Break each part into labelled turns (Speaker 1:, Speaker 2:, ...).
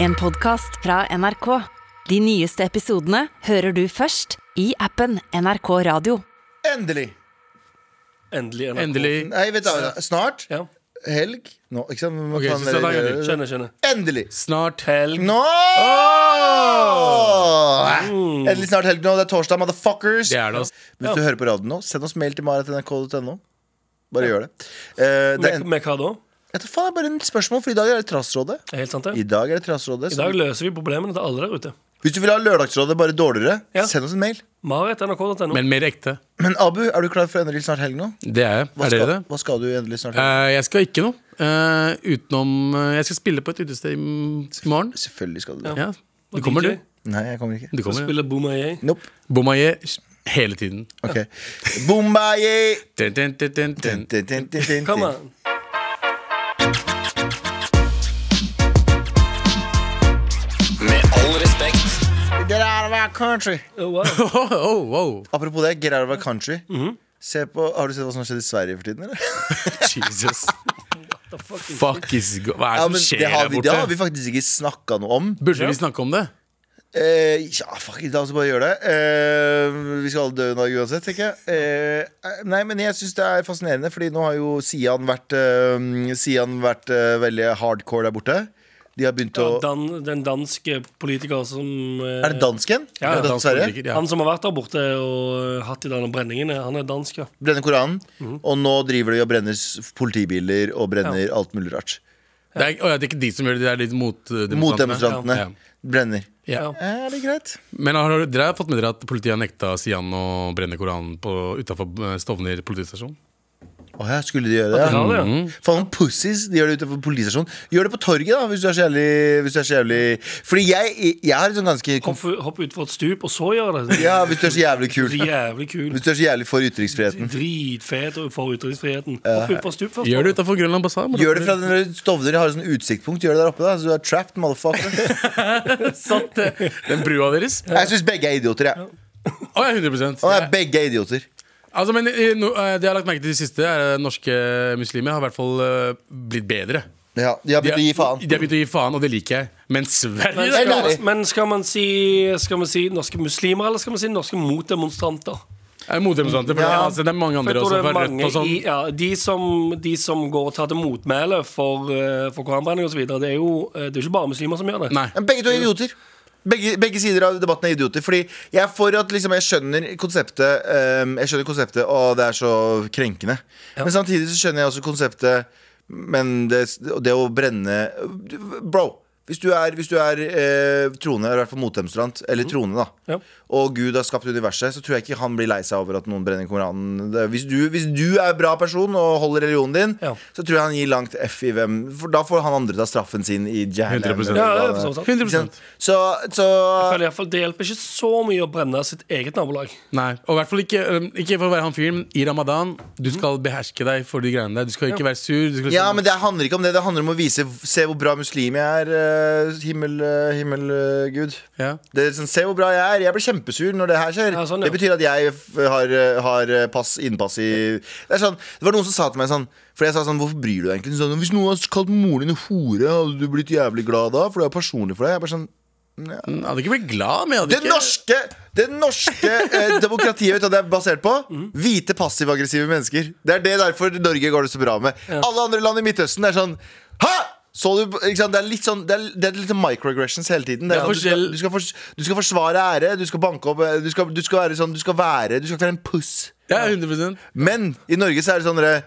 Speaker 1: En podcast fra NRK. De nyeste episodene hører du først i appen NRK Radio.
Speaker 2: Endelig.
Speaker 3: Endelig. NRK.
Speaker 4: Endelig.
Speaker 2: Nei, vet du, snart.
Speaker 3: Ja.
Speaker 2: Helg. Nå, ikke sant? Vi må
Speaker 4: Ok,
Speaker 2: ta en
Speaker 4: siste
Speaker 2: del-
Speaker 4: dagen.
Speaker 3: Skjønner, skjønner.
Speaker 2: Endelig.
Speaker 4: Snart.
Speaker 3: Helg.
Speaker 2: Nå! Endelig snart helg nå. Det er torsdag, motherfuckers.
Speaker 4: Det er det, altså.
Speaker 2: Hvis du hører på radioen nå, send oss mail til maratnrk.no. Bare gjør det. Eh, det er
Speaker 3: Med,
Speaker 2: en,
Speaker 3: med hva da?
Speaker 2: jeg tror faen, det er bare en spørsmål, for i dag er det Trassrådet.
Speaker 3: Er Helt sant,
Speaker 2: I
Speaker 3: det?
Speaker 2: dag er det Trassrådet.
Speaker 3: I
Speaker 2: så-
Speaker 3: dag løser vi problemene til alle der ute.
Speaker 2: Hvis du vil ha Lørdagsrådet bare dårligere,
Speaker 3: Ja.
Speaker 2: send oss en mail.
Speaker 3: Marit.nrk.no.
Speaker 4: Men mer ekte.
Speaker 2: Men Abu, er du klar for endelig snart helg nå?
Speaker 4: Det er jeg.
Speaker 2: Hva
Speaker 4: Er dere
Speaker 2: skal,
Speaker 4: det?
Speaker 2: Hva skal du i endelig snart helg?
Speaker 4: Eh, jeg skal ikke noe. Eh, utenom eh, Jeg skal spille på et utested i m- i morgen.
Speaker 2: Selvfølgelig skal du det.
Speaker 4: Ja. Du kommer, du.
Speaker 3: DJ.
Speaker 2: Nei, jeg kommer ikke.
Speaker 4: Du kommer, ja.
Speaker 3: Spiller Boomayay.
Speaker 2: Nope.
Speaker 4: Bomaye hele tiden.
Speaker 2: Ok. Bombay!
Speaker 4: Dun, dun, dun, dun,
Speaker 2: Din,
Speaker 4: dun.
Speaker 2: din, din, din, din,
Speaker 3: Come
Speaker 2: din.
Speaker 3: on.
Speaker 2: Get out of our country.
Speaker 3: Oh, wow.
Speaker 4: Oh, oh, wow.
Speaker 2: Apropos det, get out of our country.
Speaker 4: Mhm.
Speaker 2: Se på, har du sett hva som har skjedd i Sverige for tiden? eller?
Speaker 4: Jesus. Fuck is go Hva er det
Speaker 2: Ja,
Speaker 4: som
Speaker 2: men
Speaker 4: skjer
Speaker 2: det, har
Speaker 4: der
Speaker 2: vi, det har vi
Speaker 4: borte?
Speaker 2: faktisk ikke snakka noe om.
Speaker 4: Burde vi snakke om det?
Speaker 2: Eh, ja, fuck it, la oss bare gjøre det. Eh, vi skal alle dø en dag uansett, tenker jeg. Eh, nei, men jeg syns det er fascinerende, Fordi nå har jo Sian vært, eh, Sian vært eh, veldig hardcore der borte. De har begynt å
Speaker 3: Dan, den danske politiker som eh,
Speaker 2: Er det dansken?
Speaker 3: Ja,
Speaker 2: Er det
Speaker 4: Dansk
Speaker 2: Sverige?
Speaker 4: politiker, ja.
Speaker 3: Han som har vært der borte og eh, hatt de der brenningene, han er dansk, ja.
Speaker 2: Brenner Koranen. Og nå driver de og brenner s- politibiler og brenner alt mulig rart.
Speaker 4: Det er, å ja, det er ikke de som gjør det, det er litt motdemonstrantene.
Speaker 2: Motdemonstrantene
Speaker 4: Ja.
Speaker 2: brenner.
Speaker 4: Ja.
Speaker 3: Ja.
Speaker 2: Er det greit?
Speaker 4: Men har dere- dere har fått med dere at politiet har nekta Sian å brenne Koranen utafor Stovner politistasjon?
Speaker 2: Åh, ja, skulle de gjøre det?
Speaker 3: De har
Speaker 2: Ja.
Speaker 3: det, ja.
Speaker 2: Faen, pussies! De gjør det utenfor politistasjonen. Gjør det på torget, da, hvis du er så jævlig, hvis du er så jævlig. Fordi jeg, jeg har et sånn ganske
Speaker 3: Hopp, hopp utfor et stup, og så gjør det.
Speaker 2: Ja, hvis du er så jævlig kul.
Speaker 3: Så Jævlig kul.
Speaker 2: Hvis du er så jævlig for ytringsfriheten.
Speaker 3: Dritfet og for utenriksfriheten. Hopp utfor et stup først.
Speaker 4: Gjør det utafor Grønland basar.
Speaker 2: Gjør det fra den der Stovner har et sånn utsiktspunkt. Gjør det der oppe, da. Så du er trapped, motherfucker.
Speaker 4: Sant det. Den brua deres? Å
Speaker 2: Jeg syns begge er idioter, jeg.
Speaker 4: ja, 100
Speaker 2: Å, nei, begge er idioter.
Speaker 4: Altså, men eh, no, eh, Det jeg har lagt merke til de siste, er at norske muslimer har i hvert fall eh, blitt bedre.
Speaker 2: Ja, de har begynt å gi faen.
Speaker 4: De har begynt å gi faen, og det liker jeg. Men Sverige
Speaker 3: Men
Speaker 2: er
Speaker 3: skal,
Speaker 2: lærer.
Speaker 3: man, men skal man si Skal man si norske muslimer, eller skal man si norske motdemonstranter?
Speaker 4: er motdemonstranter. For
Speaker 2: Ja.
Speaker 4: altså, det er mange
Speaker 3: For
Speaker 4: andre
Speaker 3: jeg tror
Speaker 4: også,
Speaker 3: det er
Speaker 4: fra Rødt
Speaker 3: mange
Speaker 4: og sånn.
Speaker 3: i, ja, de, som, de som går og tar til motmæle for, eh, for koranbrenning osv., det er jo eh, det er ikke bare muslimer som gjør det.
Speaker 4: Nei.
Speaker 2: Men Begge to er idioter. Begge, begge sider av debatten er idioter. Fordi jeg er for at liksom, jeg skjønner konseptet um, Jeg skjønner konseptet Å, det er så krenkende. Men samtidig så skjønner jeg også konseptet Men det, det å brenne Bro, hvis du er, hvis du er eh, troende, eller i hvert fall motdemonstrant, eller
Speaker 3: Mm.
Speaker 2: troende, da,
Speaker 3: Ja.
Speaker 2: og Gud har skapt universet, så tror jeg ikke han blir lei seg over at noen brenner Koranen. Det- Hvis du, hvis du er bra person og holder religionen din,
Speaker 3: Ja.
Speaker 2: så tror jeg han gir langt F i hvem For da får han andre ta straffen sin i jævlen.
Speaker 4: 100%.
Speaker 3: Ja, det er for så vidt sant.
Speaker 4: 100
Speaker 2: Så, så
Speaker 3: Jeg føler i hvert fall, det hjelper ikke så mye å brenne sitt eget nabolag.
Speaker 4: Nei, og i hvert fall ikke, um, ikke for å være han fyren i ramadan. Du skal beherske deg for de greiene der. Du skal ikke være sur. Du skal
Speaker 2: Mm. Ja, men det handler ikke om det. Det handler om å vise Se hvor bra muslim jeg er, eh, himmel, eh, himmelgud.
Speaker 4: ja.
Speaker 2: det er sånn, Se hvor bra jeg er. Jeg blir kjempesur når det her skjer.
Speaker 3: Ja, sånn, ja.
Speaker 2: Det betyr at jeg f- har, eh, har eh, pass, innpass i Det er sånn, det var noen som sa til meg sånn For jeg sa sånn, hvorfor bryr du deg egentlig? Sånn, Hvis noen hadde kalt moren din hore, hadde du blitt jævlig glad da? For det er personlig for deg. Jeg er bare sånn
Speaker 4: Jeg hadde ikke blitt glad, men jeg hadde
Speaker 2: Det
Speaker 4: ikke
Speaker 2: norske, det norske eh, demokratiet vet du hva det er basert på? Hvite passiv-aggressive mennesker. Det er det derfor Norge går det så bra med. Alle andre land i Midtøsten er sånn Hæ! Så du, på-" ikke sant? Det er litt sånn Det er, det er litt sånn microaggressions hele tiden. Det er
Speaker 4: Det er
Speaker 2: sånn,
Speaker 4: forskjell-
Speaker 2: du, skal, du, skal fors, du skal forsvare ære, du skal banke opp eh, Du skal, du skal være sånn Du skal være Du skal ikke være en puss.
Speaker 4: Ja, 100
Speaker 2: Men i Norge så er det sånn dere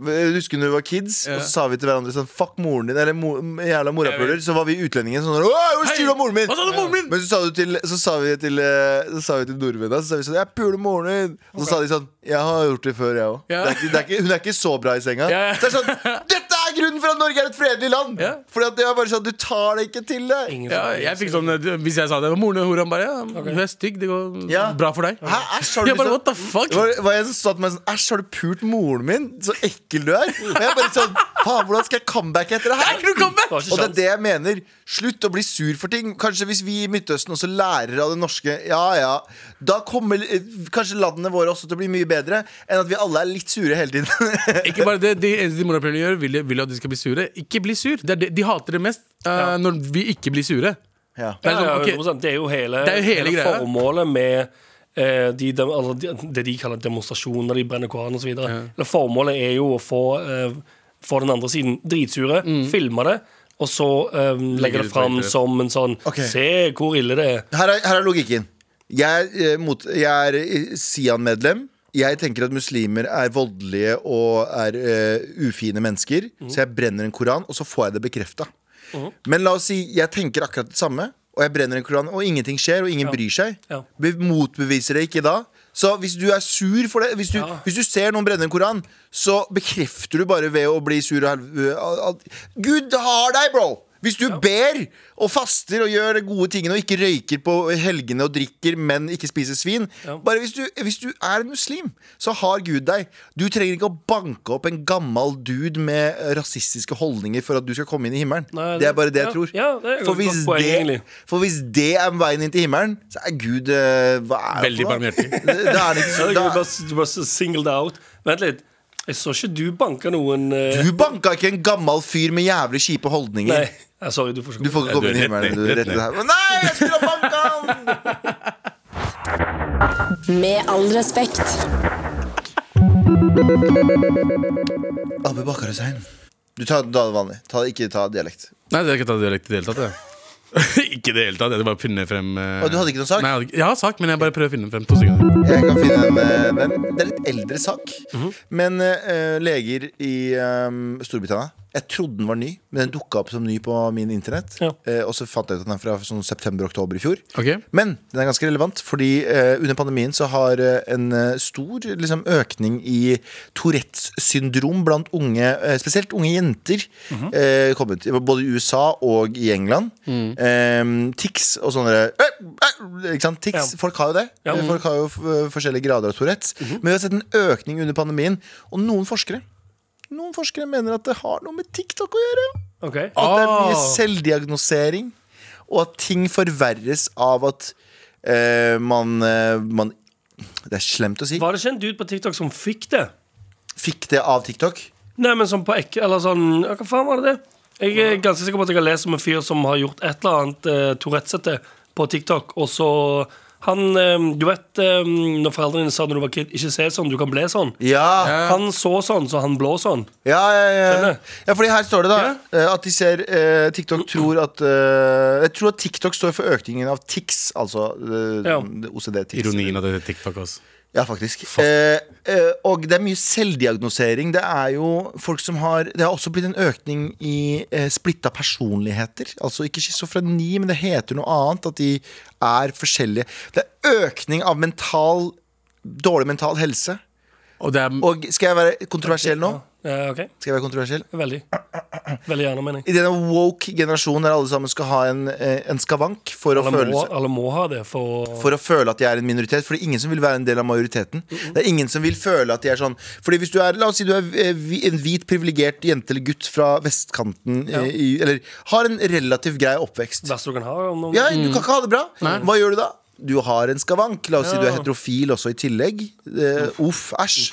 Speaker 2: jeg husker når vi var kids,
Speaker 4: Ja.
Speaker 2: og så sa vi til hverandre sånn Fuck moren din, eller mo jævla morapuler.
Speaker 4: Jeg
Speaker 2: Så var vi utlendinger sånn Åh, hva sier du om moren min?
Speaker 4: Hva sa du om moren min?
Speaker 2: Men så sa, du til, så sa vi til eh, Så sa vi til nordmennene Så sa vi sånn Jeg puler moren din. Og så sa de sånn Jeg har gjort det før, jeg òg.
Speaker 4: Ja.
Speaker 2: Det er ikke- det er ikke- Hun er ikke så bra i senga.
Speaker 4: Ja, ja.
Speaker 2: Så det er sånn Dette er grunnen for at Norge er et fredelig land!
Speaker 4: Ja.
Speaker 2: Fordi at det er bare sånn Du tar det ikke til deg.
Speaker 3: Ingen
Speaker 4: Ja, jeg fikk sånn, eh, Hvis jeg sa det, var moren og horan bare ja, Du er stygg, det går
Speaker 2: Ja.
Speaker 4: bra for deg.
Speaker 2: Hæ, æsj, har du
Speaker 4: Jeg bare,
Speaker 2: liksom-
Speaker 4: what the fuck?
Speaker 2: Det var, var en som sa til meg sånn Æsj, har du pult moren min? Så ekkel du er. Og jeg bare sånn Faen, hvordan skal jeg comebacke etter det
Speaker 4: Det er
Speaker 2: her?
Speaker 4: ikke noe comeback!
Speaker 3: Det var ikke
Speaker 2: Og det er
Speaker 3: sjans.
Speaker 2: det jeg mener. Slutt å bli sur for ting. Kanskje hvis vi i Midtøsten også lærer av det norske, ja ja, da kommer eh, kanskje landene våre også til å bli mye bedre enn at vi alle er litt sure hele tiden.
Speaker 4: Ikke bare det, De eneste de morapulerne gjør, vil, vil at de skal bli sure. Ikke bli sur. Det er det, de hater det mest eh, når vi ikke blir sure.
Speaker 2: ja.
Speaker 4: Det er
Speaker 3: Ja,
Speaker 4: sånn,
Speaker 3: ja,
Speaker 4: ok,
Speaker 3: 100%. Det er jo hele,
Speaker 4: Det er jo hele
Speaker 3: hele
Speaker 4: greia.
Speaker 3: formålet med eh, de, dem- altså, de, det de kaller demonstrasjoner, de brenner koranen osv. Ja. Formålet er jo å få, eh, få den andre siden dritsure, filme det, og så eh, legge
Speaker 4: det
Speaker 3: det
Speaker 4: ut på
Speaker 3: fram
Speaker 4: internett.
Speaker 3: som en sånn
Speaker 2: Ok.
Speaker 3: Se hvor ille det er.
Speaker 2: her, er, her er logikken. Jeg er, eh, mot, jeg er eh, Sian-medlem. Jeg tenker at muslimer er voldelige og er eh, ufine mennesker.
Speaker 3: Mhm.
Speaker 2: Så jeg brenner en koran, og så får jeg det bekrefta. Men la oss si jeg tenker akkurat det samme, og jeg brenner en koran, og ingenting skjer, og ingen bryr seg.
Speaker 3: Ja.
Speaker 2: Be- Motbeviser det ikke da. Så hvis du er sur for det Hvis du,
Speaker 3: Ja.
Speaker 2: hvis du ser noen brenne en koran, så bekrefter du bare ved å bli sur. og helv- al- al- Gud har deg, bro! Hvis du ber og faster og gjør de gode tingene og ikke røyker på helgene og drikker, men ikke spiser svin
Speaker 3: Ja.
Speaker 2: Bare hvis du, hvis du er en muslim, så har Gud deg. Du trenger ikke å banke opp en gammel dude med eh, rasistiske holdninger for at du skal komme inn i himmelen.
Speaker 3: Nei,
Speaker 2: det, er bare det
Speaker 3: ja,
Speaker 2: jeg tror.
Speaker 3: ja, det er et
Speaker 2: for,
Speaker 3: godt
Speaker 2: hvis
Speaker 3: poeng,
Speaker 2: det,
Speaker 3: egentlig.
Speaker 2: for hvis det er veien inn til himmelen, så er Gud eh, hva er det for
Speaker 4: Veldig
Speaker 2: noe?
Speaker 4: barmhjertig.
Speaker 2: Det, det er det ikke
Speaker 3: Ja,
Speaker 2: så
Speaker 3: det er jo
Speaker 2: da,
Speaker 3: bare, du bare singled out. Vent litt. Jeg så ikke du banka noen eh,
Speaker 2: Du banka ikke en gammel fyr med jævlig kjipe holdninger.
Speaker 3: Nei, ja, sorry, du får ikke
Speaker 2: Du får ikke komme
Speaker 4: Nei,
Speaker 2: inn
Speaker 4: du er
Speaker 2: i
Speaker 4: rett ned,
Speaker 2: himmelen. Du,
Speaker 4: rett
Speaker 2: rett
Speaker 4: ned.
Speaker 2: ned her. Men Nei, jeg skulle ha banka han!
Speaker 1: Med all respekt.
Speaker 2: Abu Bakar Hussein. Du tar ta det vanlig. Ta, ikke ta dialekt.
Speaker 4: Nei, det er ikke tatt dialekt i det hele tatt. jeg. ikke i det hele tatt. Jeg hadde bare funnet frem eh,
Speaker 2: Og du hadde ikke noen sak?
Speaker 4: Nei, jeg, hadde, ikke- jeg har sak, men jeg bare prøver å finne frem to sekunder.
Speaker 2: Jeg kan finne en, eh, den. Det er litt eldre sak.
Speaker 4: Mhm.
Speaker 2: Men eh, leger i eh, Storbritannia Jeg trodde den var ny, men den dukka opp som ny på min internett.
Speaker 3: Ja.
Speaker 2: Eh, og så fant jeg ut at den er fra sånn september-oktober i fjor.
Speaker 4: Ok,
Speaker 2: Men den er ganske relevant, fordi eh, under pandemien så har eh, en eh, stor liksom, økning i Tourettes syndrom blant unge, eh, spesielt unge jenter,
Speaker 3: Mhm.
Speaker 2: eh, kommet. Både i USA og i England.
Speaker 3: Mm.
Speaker 2: Eh, tics og sånne eh, eh, Ikke sant? Tics.
Speaker 3: Ja.
Speaker 2: Folk har jo det.
Speaker 3: Ja. Mhm.
Speaker 2: Eh, Folk har jo f- forskjellige grader av Tourettes. Men vi har sett en økning under pandemien, og noen forskere noen forskere mener at det har noe med TikTok å gjøre.
Speaker 3: Ok.
Speaker 2: At det er mye
Speaker 4: Ah.
Speaker 2: selvdiagnosering, og at ting forverres av at eh, man, eh, man Det er slemt å si.
Speaker 3: Var det ikke en dude på TikTok som fikk det?
Speaker 2: Fikk det av TikTok?
Speaker 3: Nei, men sånn på ekkel Eller sånn ja, Hva faen var det det? Jeg er ganske sikker på at jeg har lest om en fyr som har gjort et eller annet eh, Tourettesete på TikTok, og så han eh, Du vet eh, når foreldrene dine sa når du var kid, ikke se sånn, du kan bli sånn.
Speaker 2: Ja!
Speaker 3: Han så sånn, så han blå sånn.
Speaker 2: Ja, ja, ja.
Speaker 3: Skjønner.
Speaker 2: ja fordi her står det, da. eh, At de ser eh, TikTok tror at eh, Jeg tror at TikTok står for økningen av tics, altså eh,
Speaker 3: Ja.
Speaker 2: OCD-tics.
Speaker 4: Ironien av det TikTok også.
Speaker 2: Ja, faktisk. Eh, eh, og det er mye selvdiagnosering. Det er jo folk som har Det har også blitt en økning i eh, splitta personligheter. Altså ikke schizofreni, men det heter noe annet. At de er forskjellige. Det er økning av mental dårlig mental helse.
Speaker 4: Og det er
Speaker 2: Og skal jeg være kontroversiell nå?
Speaker 3: Eh, OK?
Speaker 2: Skal jeg være kontroversiell?
Speaker 3: Veldig. Veldig gjerne, mener jeg.
Speaker 2: I denne woke generasjonen der alle sammen skal ha en, eh, en skavank for å
Speaker 3: Alle
Speaker 2: føle
Speaker 3: må,
Speaker 2: seg
Speaker 3: alle må ha det for å
Speaker 2: for å føle at de er en minoritet. For det er ingen som vil være en del av majoriteten. Det er ingen som vil føle at de er sånn Fordi hvis du er, La oss si du er eh, hvi- en hvit, privilegert jente eller gutt fra vestkanten, eh, i, eller har en relativt grei oppvekst.
Speaker 3: verste du kan ha. Om noen,
Speaker 2: Ja, du kan ikke ha det bra. Hva gjør du da? Du har en skavank. La oss si du er heterofil også i tillegg. Eh, uff, æsj.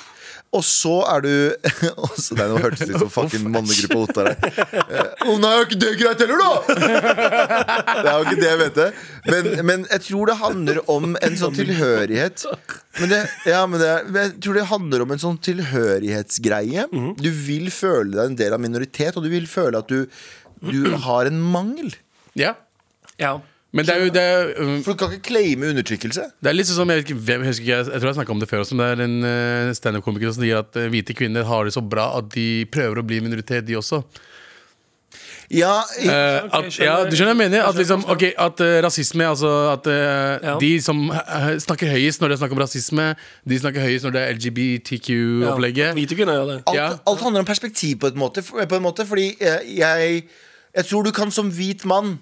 Speaker 2: Og så er du også, Nei, nå hørtes det ut som fucking mannegruppe Ottar her. Å nei, er ikke det greit heller, da?! Det er jo ikke det jeg mente. Men, men jeg tror det handler om en sånn tilhørighet. Men det, ja, men det, er- men jeg tror det handler om en sånn tilhørighetsgreie. Du vil føle deg en del av minoritet, og du vil føle at du, du har en mangel.
Speaker 4: Ja.
Speaker 3: Ja.
Speaker 4: Men det er jo det er, um,
Speaker 2: For du kan ikke claime undertrykkelse.
Speaker 4: Det er litt sånn som, jeg, vet ikke, hvem, jeg, husker, ikke, jeg, jeg tror jeg snakket om det før også, men det er en eh, standup-komiker som sier at eh, hvite kvinner har det så bra at de prøver å bli minoritet, de også.
Speaker 2: Ja, i,
Speaker 3: Ok,
Speaker 4: Eh, at,
Speaker 3: skjønner.
Speaker 4: ja, du skjønner hva jeg mener? At,
Speaker 3: Jeg skjønner
Speaker 4: liksom, ok, at eh, rasisme, altså at eh,
Speaker 3: Ja.
Speaker 4: de som eh, snakker høyest når det er snakk om rasisme, de snakker høyest når det er LGBTQ-opplegget.
Speaker 3: Hvite kvinner gjør det.
Speaker 2: alt,
Speaker 4: Ja.
Speaker 2: alt handler om perspektiv på, et måte, på en måte Fordi eh, jeg, jeg tror du kan som hvit mann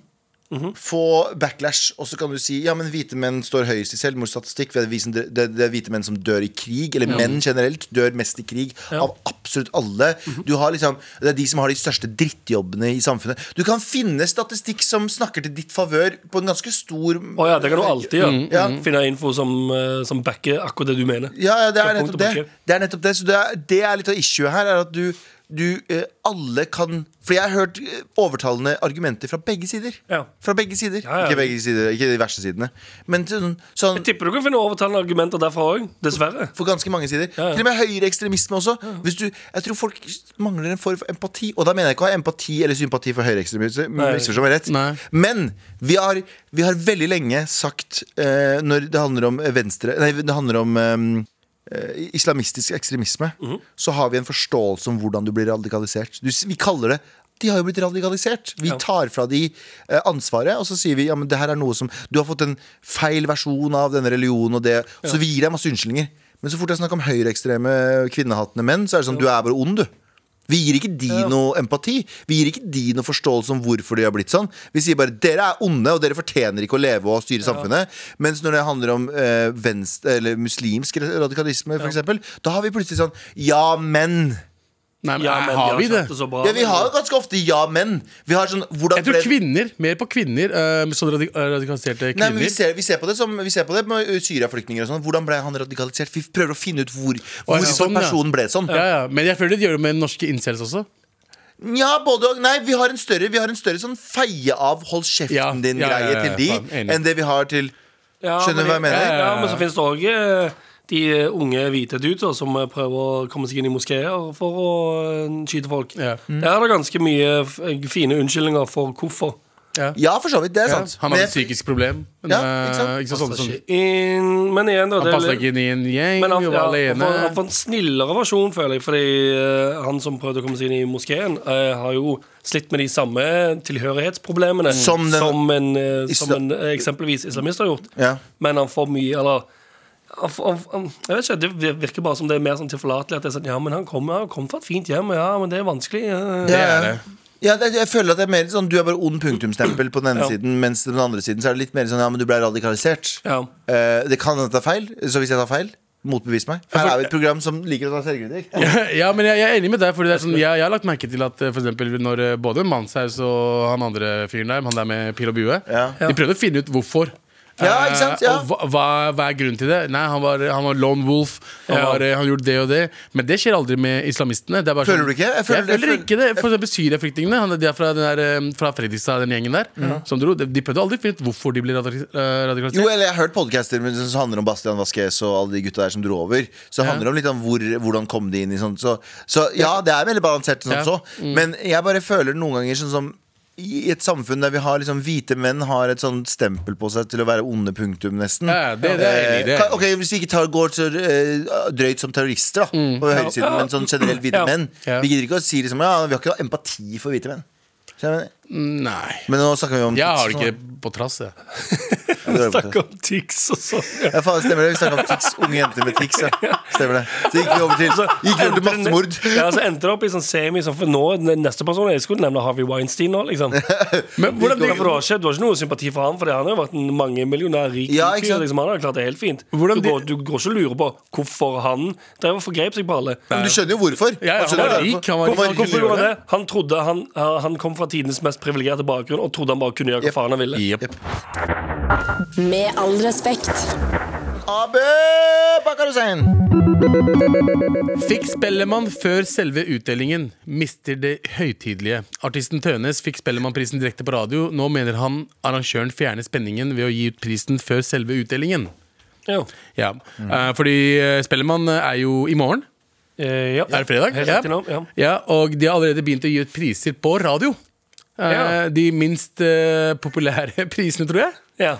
Speaker 3: Mhm.
Speaker 2: Få backlash, og så kan du si Ja, men hvite menn står høyest i selvmordsstatistikk. for Det er visen- det- det er hvite menn som dør i krig, eller menn generelt dør mest i krig. Av absolutt alle.
Speaker 3: Mhm.
Speaker 2: Du har liksom, Det er de som har de største drittjobbene i samfunnet. Du kan finne statistikk som snakker til ditt favør på en ganske stor
Speaker 3: Å ja, det kan du alltid gjøre. Mhm,
Speaker 2: Ja.
Speaker 3: Finne info som, eh, som backer akkurat det du mener.
Speaker 2: Mm, Ja, ja det,
Speaker 3: Fra
Speaker 2: er
Speaker 3: punkt
Speaker 2: nettopp
Speaker 3: og
Speaker 2: det.
Speaker 3: prikke.
Speaker 2: det er nettopp det. Så det er, det er litt av issuet her, er at du, du eh, alle kan For jeg har hørt eh, overtalende argumenter fra begge sider.
Speaker 3: Ja.
Speaker 2: Fra begge sider.
Speaker 3: Ja, ja.
Speaker 2: Ikke begge sider, ikke de verste sidene. Men sånn, sånn
Speaker 3: Jeg tipper du kan finne overtalende argumenter derfra òg. Dessverre.
Speaker 2: for ganske mange sider.
Speaker 3: Ja, ja.
Speaker 2: Til og med høyreekstremisme også. Hvis du, jeg tror folk mangler en form for empati. Og da mener jeg ikke å ha empati eller sympati for høyreekstremisme.
Speaker 3: Nei.
Speaker 2: misforstå meg rett.
Speaker 4: Nei.
Speaker 2: Men vi har, vi har veldig lenge sagt, eh, når det handler om venstre Nei, det handler om eh, eh, islamistisk ekstremisme, så har vi en forståelse om hvordan du blir radikalisert. Du, s- vi kaller det de har jo blitt radikalisert. Vi
Speaker 3: Ja.
Speaker 2: tar fra de eh, ansvaret, og så sier vi ja, men det her er noe som Du har fått en feil versjon av denne religionen og det, så vi gir deg masse unnskyldninger. Men så fort det er snakk om høyreekstreme kvinnehatende menn, så er det sånn du er bare ond, du. Vi gir ikke de noe empati. Vi gir ikke de noe forståelse om hvorfor de har blitt sånn. Vi sier bare dere er onde, og dere fortjener ikke å leve og styre samfunnet. Mens når det handler om eh, venstre, eller muslimsk radikalisme, for eksempel da har vi plutselig sånn ja, men.
Speaker 4: Nei, men,
Speaker 3: Ja, men
Speaker 4: har vi
Speaker 3: skjønt
Speaker 4: det?
Speaker 3: det så bra.
Speaker 2: Ja, vi har jo ganske ofte ja, men. Vi har sånn hvordan
Speaker 4: Jeg tror
Speaker 2: ble-
Speaker 4: kvinner, mer på kvinner, eh, sånn radik radikaliserte
Speaker 2: Nei, men
Speaker 4: kvinner.
Speaker 2: vi ser, vi ser på det som Vi ser på det med uh, Syria-flyktninger og sånn. Hvordan ble han radikalisert? Vi prøver å finne ut hvor,
Speaker 4: Å, ja,
Speaker 2: hvorfor
Speaker 4: sånn, ja.
Speaker 2: personen ble sånn.
Speaker 4: ja, ja. Men jeg føler de gjør det med norske incels også.
Speaker 2: Ja, både og. Nei, vi har en større, vi har en større sånn feie av hold kjeften
Speaker 4: Ja,
Speaker 2: din-greie
Speaker 4: ja, ja, ja,
Speaker 2: til de,
Speaker 4: faen, enig.
Speaker 2: enn det vi har til
Speaker 3: Ja,
Speaker 2: Skjønner du hva jeg mener?
Speaker 3: Ja, ja, men så finnes det òg de eh, unge hvite dudes som eh, prøver å komme seg inn i moskeer for å eh, skyte folk.
Speaker 4: Ja.
Speaker 3: Der er det ganske mye f- fine unnskyldninger for hvorfor.
Speaker 4: Ja.
Speaker 2: Ja, for så vidt. Det er
Speaker 4: Ja,
Speaker 2: sant.
Speaker 4: Han
Speaker 2: Men
Speaker 4: hadde
Speaker 2: jeg-
Speaker 4: et psykisk problem. Men,
Speaker 2: Ja,
Speaker 4: eh,
Speaker 2: ikke sant?
Speaker 4: ikke sant, sånn,
Speaker 3: Altså,
Speaker 4: som-
Speaker 3: In, men igjen, da
Speaker 4: han
Speaker 3: det er
Speaker 4: passa
Speaker 3: litt-
Speaker 4: ikke inn i en gjeng,
Speaker 3: Men han,
Speaker 4: han,
Speaker 3: ja,
Speaker 4: var
Speaker 3: han, får, han
Speaker 4: alene.
Speaker 3: får en snillere versjon, føler jeg. Fordi eh, han som prøvde å komme seg inn i moskeen, eh, har jo slitt med de samme tilhørighetsproblemene
Speaker 2: Mm. Som den-
Speaker 3: en, eh, som
Speaker 2: Isla-
Speaker 3: en eh, eksempelvis islamist har gjort.
Speaker 2: Ja.
Speaker 3: Men han får mye Eller han, får- han, han, jeg vet ikke, Det virker bare som det er mer sånn tilforlatelig. At det er sånn, ja, men han kom, han kom fra et fint hjem, ja, men det er vanskelig. eh.
Speaker 4: Det er det.
Speaker 2: Ja, det, jeg føler at det er mer sånn Du er bare ond punktumstempel på den ene
Speaker 3: Ja.
Speaker 2: siden, mens på den andre siden så er det litt mer sånn ja, men du ble radikalisert.
Speaker 3: Ja.
Speaker 2: Eh, det kan hende at det er feil, så hvis jeg tar feil, motbevis meg. Her er vi et program som liker å ta selvkritikk.
Speaker 4: ja, men jeg, jeg er enig med deg. Fordi det er sånn, jeg, jeg har lagt merke til at eh, for eksempel, når eh, både Manshaus og han andre fyren der, han der med pil og bue,
Speaker 2: Ja.
Speaker 4: de prøvde å finne ut hvorfor.
Speaker 2: Ja, ikke sant?
Speaker 4: Eh,
Speaker 2: Ja.
Speaker 4: Og hva, hva, hva er grunnen til det? Nei, Han var, han var lone wolf. Han,
Speaker 3: Ja.
Speaker 4: var, eh, han gjorde det og det. Men det skjer aldri med islamistene. Det er bare
Speaker 2: Føler
Speaker 4: sånn-
Speaker 2: du ikke? Jeg
Speaker 4: Jeg
Speaker 2: føler-
Speaker 4: føler,
Speaker 2: jeg føler-
Speaker 4: ikke det. For eksempel Syria-flyktningene. han- De er fra, den der, eh, fra Fredrikstad, den gjengen der. Som dro. De, de prøvde aldri å finne ut hvorfor de ble eh, radikalisert.
Speaker 2: Jo, eller jeg har hørt podcaster men som handler om Bastian Vasquez og alle de gutta der som dro over. Så det handler om litt om hvor, hvordan kom de inn i sånt. Så, så ja, det er veldig balansert, sånn
Speaker 4: Ja. Mm.
Speaker 2: så. Men jeg bare føler noen ganger sånn som i et samfunn der vi har liksom hvite menn har et sånn stempel på seg til å være onde punktum, nesten.
Speaker 4: Ja, det- det er jeg enig i, det er jeg
Speaker 2: Eh, kan- ok, Hvis vi ikke tar, går så eh, drøyt som terrorister, da, på høyresiden,
Speaker 3: Ja.
Speaker 2: men sånn generelt hvite
Speaker 3: Ja.
Speaker 2: menn.
Speaker 4: Mm. Ja.
Speaker 2: Vi gidder ikke å si liksom Ja, vi har ikke empati for hvite menn. Skjønner du?
Speaker 4: Nei.
Speaker 2: Men nå snakker vi om
Speaker 4: Jeg Mm. har
Speaker 2: tics
Speaker 4: det
Speaker 2: og sånn.
Speaker 4: ikke på trass, jeg.
Speaker 2: Ja, det har vi på
Speaker 3: Snakk om tics og sånn.
Speaker 2: Ja, faen, stemmer det. Vi snakka om tics. Unge jenter med tics. Ja. Stemmer det. Så gikk vi over til, gikk vi over til massemord.
Speaker 3: Ja, så endte det opp i sånn semi sånn, For nå, den neste person Jeg skulle nevne Harvey Weinstein nå, liksom.
Speaker 4: Men
Speaker 3: Ja, for
Speaker 4: hvordan,
Speaker 3: du, har ikke, du har ikke noe sympati for han, for han har jo vært en mangemillionær rik
Speaker 2: Ja, ikke
Speaker 3: fyr.
Speaker 2: sant?
Speaker 3: Liksom, han har klart det helt fint.
Speaker 4: Hvordan
Speaker 3: du,
Speaker 4: de-
Speaker 3: går, du går ikke og lurer på hvorfor han drev og forgrep seg på alle.
Speaker 2: Men du skjønner jo hvorfor.
Speaker 4: Ja, ja,
Speaker 2: Man skjønner
Speaker 4: han var
Speaker 2: jo
Speaker 4: rik,
Speaker 2: hvorfor.
Speaker 4: han var-
Speaker 3: Hvorfor,
Speaker 4: ikke
Speaker 3: hvorfor
Speaker 4: gjøre
Speaker 3: gjorde han det? Han trodde han, han kom fra tidenes mest privilegerte bakgrunn og trodde han bare kunne gjøre hva faen han ville.
Speaker 4: Jep.
Speaker 1: Med all respekt.
Speaker 2: Abe Bakarusein.
Speaker 4: Fikk Spellemann før selve utdelingen, mister det høytidelige. Artisten Tønes fikk Spellemannprisen direkte på radio. Nå mener han arrangøren fjerner spenningen ved å gi ut prisen før selve utdelingen.
Speaker 3: Ja.
Speaker 4: Ja,
Speaker 3: Mm.
Speaker 4: eh, Fordi eh, Spellemann er jo i morgen.
Speaker 3: Eh, ja.
Speaker 4: Er det fredag?
Speaker 3: Helt
Speaker 4: Ja.
Speaker 3: riktig nå, ja.
Speaker 4: Ja, og de har allerede begynt å gi ut priser på radio. Eh,
Speaker 3: Ja.
Speaker 4: De minst eh, populære prisene, tror jeg.
Speaker 3: Ja.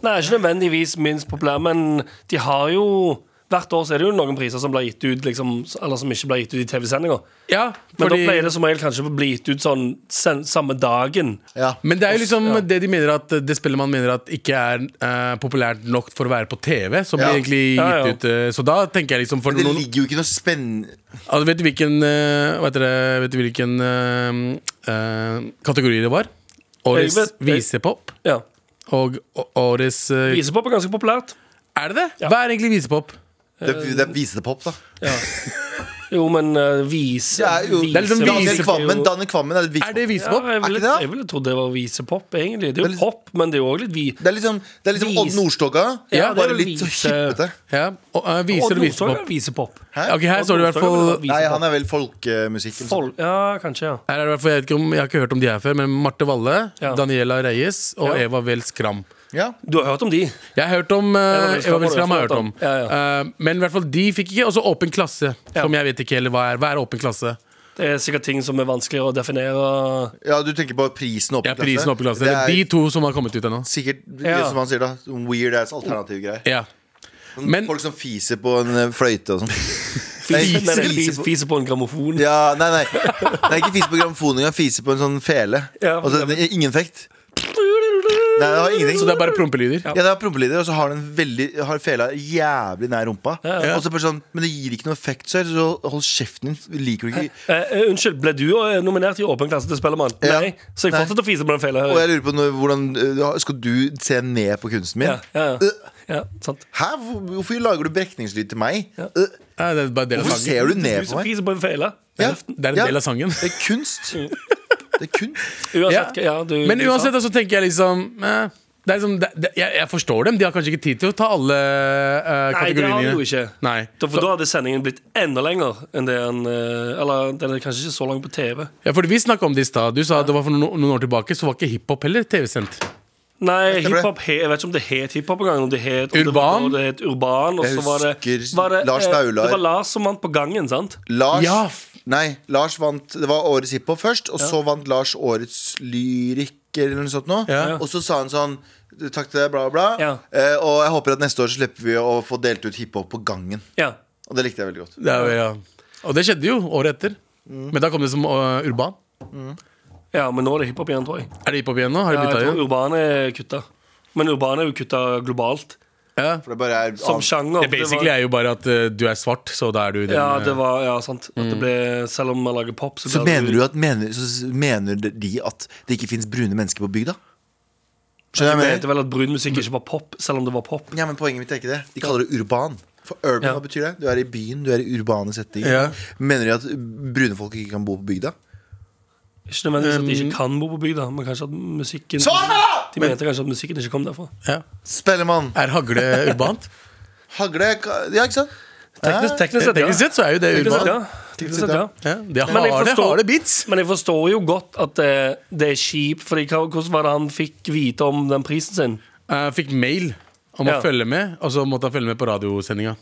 Speaker 3: Nei, ikke nødvendigvis minst populær, men de har jo Hvert år så er det jo noen priser som blir gitt ut liksom, Eller som ikke blir gitt ut i TV-sendinger.
Speaker 4: Ja,
Speaker 3: Men
Speaker 4: fordi-
Speaker 3: da pleier det som regel kanskje å bli gitt ut sånn sen, samme dagen.
Speaker 2: Ja.
Speaker 4: Men det er jo liksom
Speaker 3: Ja.
Speaker 4: det de mener at Det spillet man mener at ikke er eh, populært nok for å være på TV, som
Speaker 2: Ja.
Speaker 4: blir egentlig gitt
Speaker 3: Ja, ja.
Speaker 4: ut eh, Så da tenker jeg liksom for
Speaker 2: Det
Speaker 4: noen,
Speaker 2: ligger jo ikke noe spennende
Speaker 4: Ah, Vet du hvilken, eh, hva heter det, vet du hvilken eh, eh, kategori det var? Årets
Speaker 3: Jeg vet-
Speaker 4: visepop
Speaker 3: Ja.
Speaker 4: og å- årets eh,
Speaker 3: Visepop er ganske populært.
Speaker 4: Er det det?
Speaker 3: Ja.
Speaker 4: Hva er egentlig visepop?
Speaker 2: Det, det er visepop, da.
Speaker 3: Jo, men eh, vise
Speaker 2: Det er jo
Speaker 4: Det er liksom
Speaker 2: Daniel
Speaker 4: vise-
Speaker 2: Kvammen, Daniel Kvammen er et
Speaker 4: Er det
Speaker 2: visepop.
Speaker 3: Ja,
Speaker 4: visepop?
Speaker 3: jeg
Speaker 2: Er ikke
Speaker 3: ville,
Speaker 2: det da?
Speaker 3: jeg ville trodd det var visepop, egentlig. Det
Speaker 2: Det
Speaker 3: er
Speaker 2: er
Speaker 3: jo
Speaker 2: litt-
Speaker 3: pop, men det er jo òg litt vi...
Speaker 2: Det er liksom, det er liksom
Speaker 3: Vis-
Speaker 2: Odd Nordstoga,
Speaker 3: Ja, det er
Speaker 2: bare
Speaker 3: vel
Speaker 2: litt så
Speaker 3: vise-
Speaker 2: hyppete.
Speaker 4: Ja. Og, eh,
Speaker 3: Odd
Speaker 4: viser og
Speaker 3: Nordstoga er
Speaker 4: visepop.
Speaker 3: visepop.
Speaker 2: Hæ?
Speaker 4: Ok, her står det i hvert fall
Speaker 3: Odd Nordstoga ville vært
Speaker 2: Nei,
Speaker 3: visepop.
Speaker 2: han er vel folkemusikk. eller sånt.
Speaker 3: Folk- Ja, kanskje, ja.
Speaker 4: Her er det i hvert fall, jeg, vet ikke om, jeg har ikke hørt om de her før, men Marte Valle,
Speaker 3: Ja.
Speaker 4: Daniela Reyes og
Speaker 3: Ja.
Speaker 4: Eva Weel Skram.
Speaker 2: Ja.
Speaker 3: Du har hørt om de?
Speaker 4: Jeg har hørt om eh,
Speaker 3: Eva Weel Skram
Speaker 4: Eva Weel
Speaker 3: har
Speaker 4: Skram. har
Speaker 3: du
Speaker 4: jeg hørt om
Speaker 3: Ja,
Speaker 4: Eh, Men i hvert fall de fikk ikke. Og så Åpen klasse,
Speaker 3: Ja.
Speaker 4: som jeg vet ikke heller hva er. Hva er Åpen klasse?
Speaker 3: Det er sikkert ting som er vanskeligere å definere.
Speaker 2: ja, du tenker på prisen oppe
Speaker 4: Ja,
Speaker 2: i
Speaker 4: prisen Åpen klasse.
Speaker 2: Det
Speaker 4: Eller de
Speaker 2: er
Speaker 4: to som har kommet ut ennå.
Speaker 2: sikkert det
Speaker 3: Ja.
Speaker 2: som han sier, da. Weird ass alternative greier.
Speaker 4: Ja. Men
Speaker 2: Folk som fiser på en eh, fløyte og sånn. Nei,
Speaker 3: Fise, nei, nei,
Speaker 2: fise
Speaker 3: fise,
Speaker 2: på-
Speaker 3: fise på en grammofon.
Speaker 2: Ja, nei, nei. Det er ikke fise på grammofonen engang. Fise på en sånn fele.
Speaker 3: Ja,
Speaker 2: Altså, det er ingen effekt. Nei, det har ingenting.
Speaker 4: Så det er bare prompelyder?
Speaker 2: Ja, det er prompelyder, og så har den veldig Har fela jævlig nær rumpa. Og så bare sånn, Men det gir ikke noe effekt, sir, så hold kjeften din. Liker du ikke
Speaker 3: Eh, eh, unnskyld, ble du eh, nominert i Åpen klasse til Spellemann?
Speaker 2: Ja.
Speaker 3: Nei, så jeg
Speaker 2: Nei.
Speaker 3: fortsetter å fise på den feilen.
Speaker 2: Og jeg lurer på når, hvordan øh, Skal du se ned på kunsten min?
Speaker 3: Ja, ja, ja.
Speaker 2: Øh,
Speaker 3: ja, sant.
Speaker 2: Hæ? Hvor- Hvorfor lager du brekningslyd til meg?
Speaker 3: Ja.
Speaker 2: Øh,
Speaker 4: Nei, det er bare en del av
Speaker 2: Hvorfor
Speaker 4: sangen.
Speaker 2: ser du
Speaker 3: Du
Speaker 2: ned på
Speaker 3: som
Speaker 2: meg?
Speaker 3: fiser på en feile.
Speaker 2: Ja,
Speaker 4: Det er en
Speaker 2: ja,
Speaker 4: del av sangen.
Speaker 2: Det er kunst. Det er kunst.
Speaker 4: Ja.
Speaker 3: Uansett, ja. du,
Speaker 4: Men
Speaker 3: du sa-
Speaker 4: uansett, da, så tenker jeg liksom eh, det er liksom, det, det, jeg, jeg forstår dem. De har kanskje ikke tid til å ta alle eh,
Speaker 3: Nei, det har
Speaker 4: kategoriene.
Speaker 3: du jo ikke.
Speaker 4: Nei.
Speaker 3: Da, for da hadde sendingen blitt enda lenger enn det en eh, Eller den er kanskje ikke så lang på TV.
Speaker 4: Ja, fordi Vi snakka om det i stad. Du sa at det var for noen, noen år tilbake, så var ikke hiphop heller TV-sendt.
Speaker 3: Nei,
Speaker 2: tror det.
Speaker 3: hiphop, he, jeg vet ikke om det het hiphop engang. Om det het, om
Speaker 4: Urban?
Speaker 3: Det var, det het urban og
Speaker 2: Jeg
Speaker 3: så var det,
Speaker 2: husker
Speaker 3: var det
Speaker 2: Lars
Speaker 3: eh,
Speaker 2: Vaular.
Speaker 3: Det var Lars som vant på gangen, sant?
Speaker 2: Lars
Speaker 4: Ja, f-
Speaker 2: Nei, Lars vant Det var årets hiphop først, og så vant Lars årets lyrikk eller noe sånt nå.
Speaker 4: Ja.
Speaker 2: Og så sa han sånn Takk til deg, bla, bla.
Speaker 3: Ja.
Speaker 2: Eh, og jeg håper at neste år så slipper vi å få delt ut hiphop på gangen.
Speaker 3: Ja.
Speaker 2: Og det likte jeg veldig godt.
Speaker 4: Det er, jo- ja. Og det skjedde jo året etter.
Speaker 3: Mm.
Speaker 4: Men da kom det som eh, urban.
Speaker 3: ja, men nå er det hiphop igjen, tror jeg.
Speaker 4: Er det hiphop igjen nå? Har
Speaker 3: Ja,
Speaker 4: de
Speaker 3: jeg
Speaker 4: bytta
Speaker 3: tror
Speaker 4: igjen?
Speaker 3: urban er kutta. Men urban er jo kutta globalt.
Speaker 4: Ja.
Speaker 2: For det bare er
Speaker 3: Som
Speaker 2: av-
Speaker 3: sjanger.
Speaker 4: Det basically er jo bare at eh, du er svart, så da er du den.
Speaker 3: ja,
Speaker 4: eh,
Speaker 3: det var, ja, sant. At
Speaker 4: Mm.
Speaker 3: det ble, selv om man lager pop, så,
Speaker 2: Så
Speaker 3: blir det-
Speaker 2: mener du at mener, så s- mener de at det ikke fins brune mennesker på bygda? Skjønner
Speaker 3: Jeg
Speaker 2: jeg hva jeg
Speaker 3: mente
Speaker 2: mener?
Speaker 3: vel at brun musikk ikke var pop, selv om det var pop.
Speaker 2: Ja, men Poenget mitt er ikke det. De kaller det urban. For urban,
Speaker 3: Ja.
Speaker 2: hva betyr det? Du er i byen, du er i urbane settinger.
Speaker 4: Ja.
Speaker 2: Mener de at brune folk ikke kan bo på bygda?
Speaker 3: Ikke nødvendigvis at de
Speaker 4: Um,
Speaker 3: ikke kan bo på bygda, men kanskje at musikken
Speaker 2: Sånn da!
Speaker 3: De mente kanskje at musikken ikke kom derfra.
Speaker 4: ja.
Speaker 2: Spellemann.
Speaker 4: Er hagle urbant?
Speaker 2: Hagle ka- Ja, ikke sant?
Speaker 3: Teknisk, teknisk sett, ja.
Speaker 4: Teknisk sett så er jo det
Speaker 3: Teknisk sett,
Speaker 4: urbant.
Speaker 3: ja. Teknisk sett, sånn, ja.
Speaker 4: Ja, det
Speaker 3: Men jeg
Speaker 4: harde,
Speaker 3: forstår-
Speaker 4: harde beats.
Speaker 3: Men jeg forstår jo godt at eh, det er kjipt. Fordi hva- Hvordan var det han fikk vite om den prisen sin?
Speaker 4: Jeg fikk mail om
Speaker 3: Ja.
Speaker 4: å følge med, og så måtte han følge med på radiosendinga.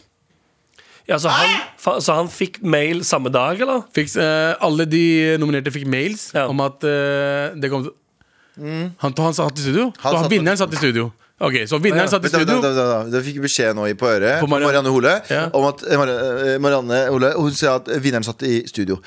Speaker 3: Ja, så, han, fa- så han fikk mail samme dag, eller?
Speaker 4: Fikk, eh, alle de nominerte fikk mails
Speaker 3: Ja.
Speaker 4: om at eh, det kom til han, han satt i studio?
Speaker 2: Han
Speaker 4: så Mm. han,
Speaker 2: satt-
Speaker 4: vinneren satt i studio. Ok, Så vinneren
Speaker 3: Ja.
Speaker 4: satt
Speaker 2: Vent,
Speaker 4: i
Speaker 2: da,
Speaker 4: studio.
Speaker 2: vent, da, vent, da. Da fikk vi beskjed nå i på øret
Speaker 4: På
Speaker 2: på
Speaker 4: Marianne-
Speaker 2: Marianne, Hole
Speaker 4: Ja.
Speaker 2: om at eh, Marianne, eh, Marianne Hole Hun sa at vinneren satt i studio.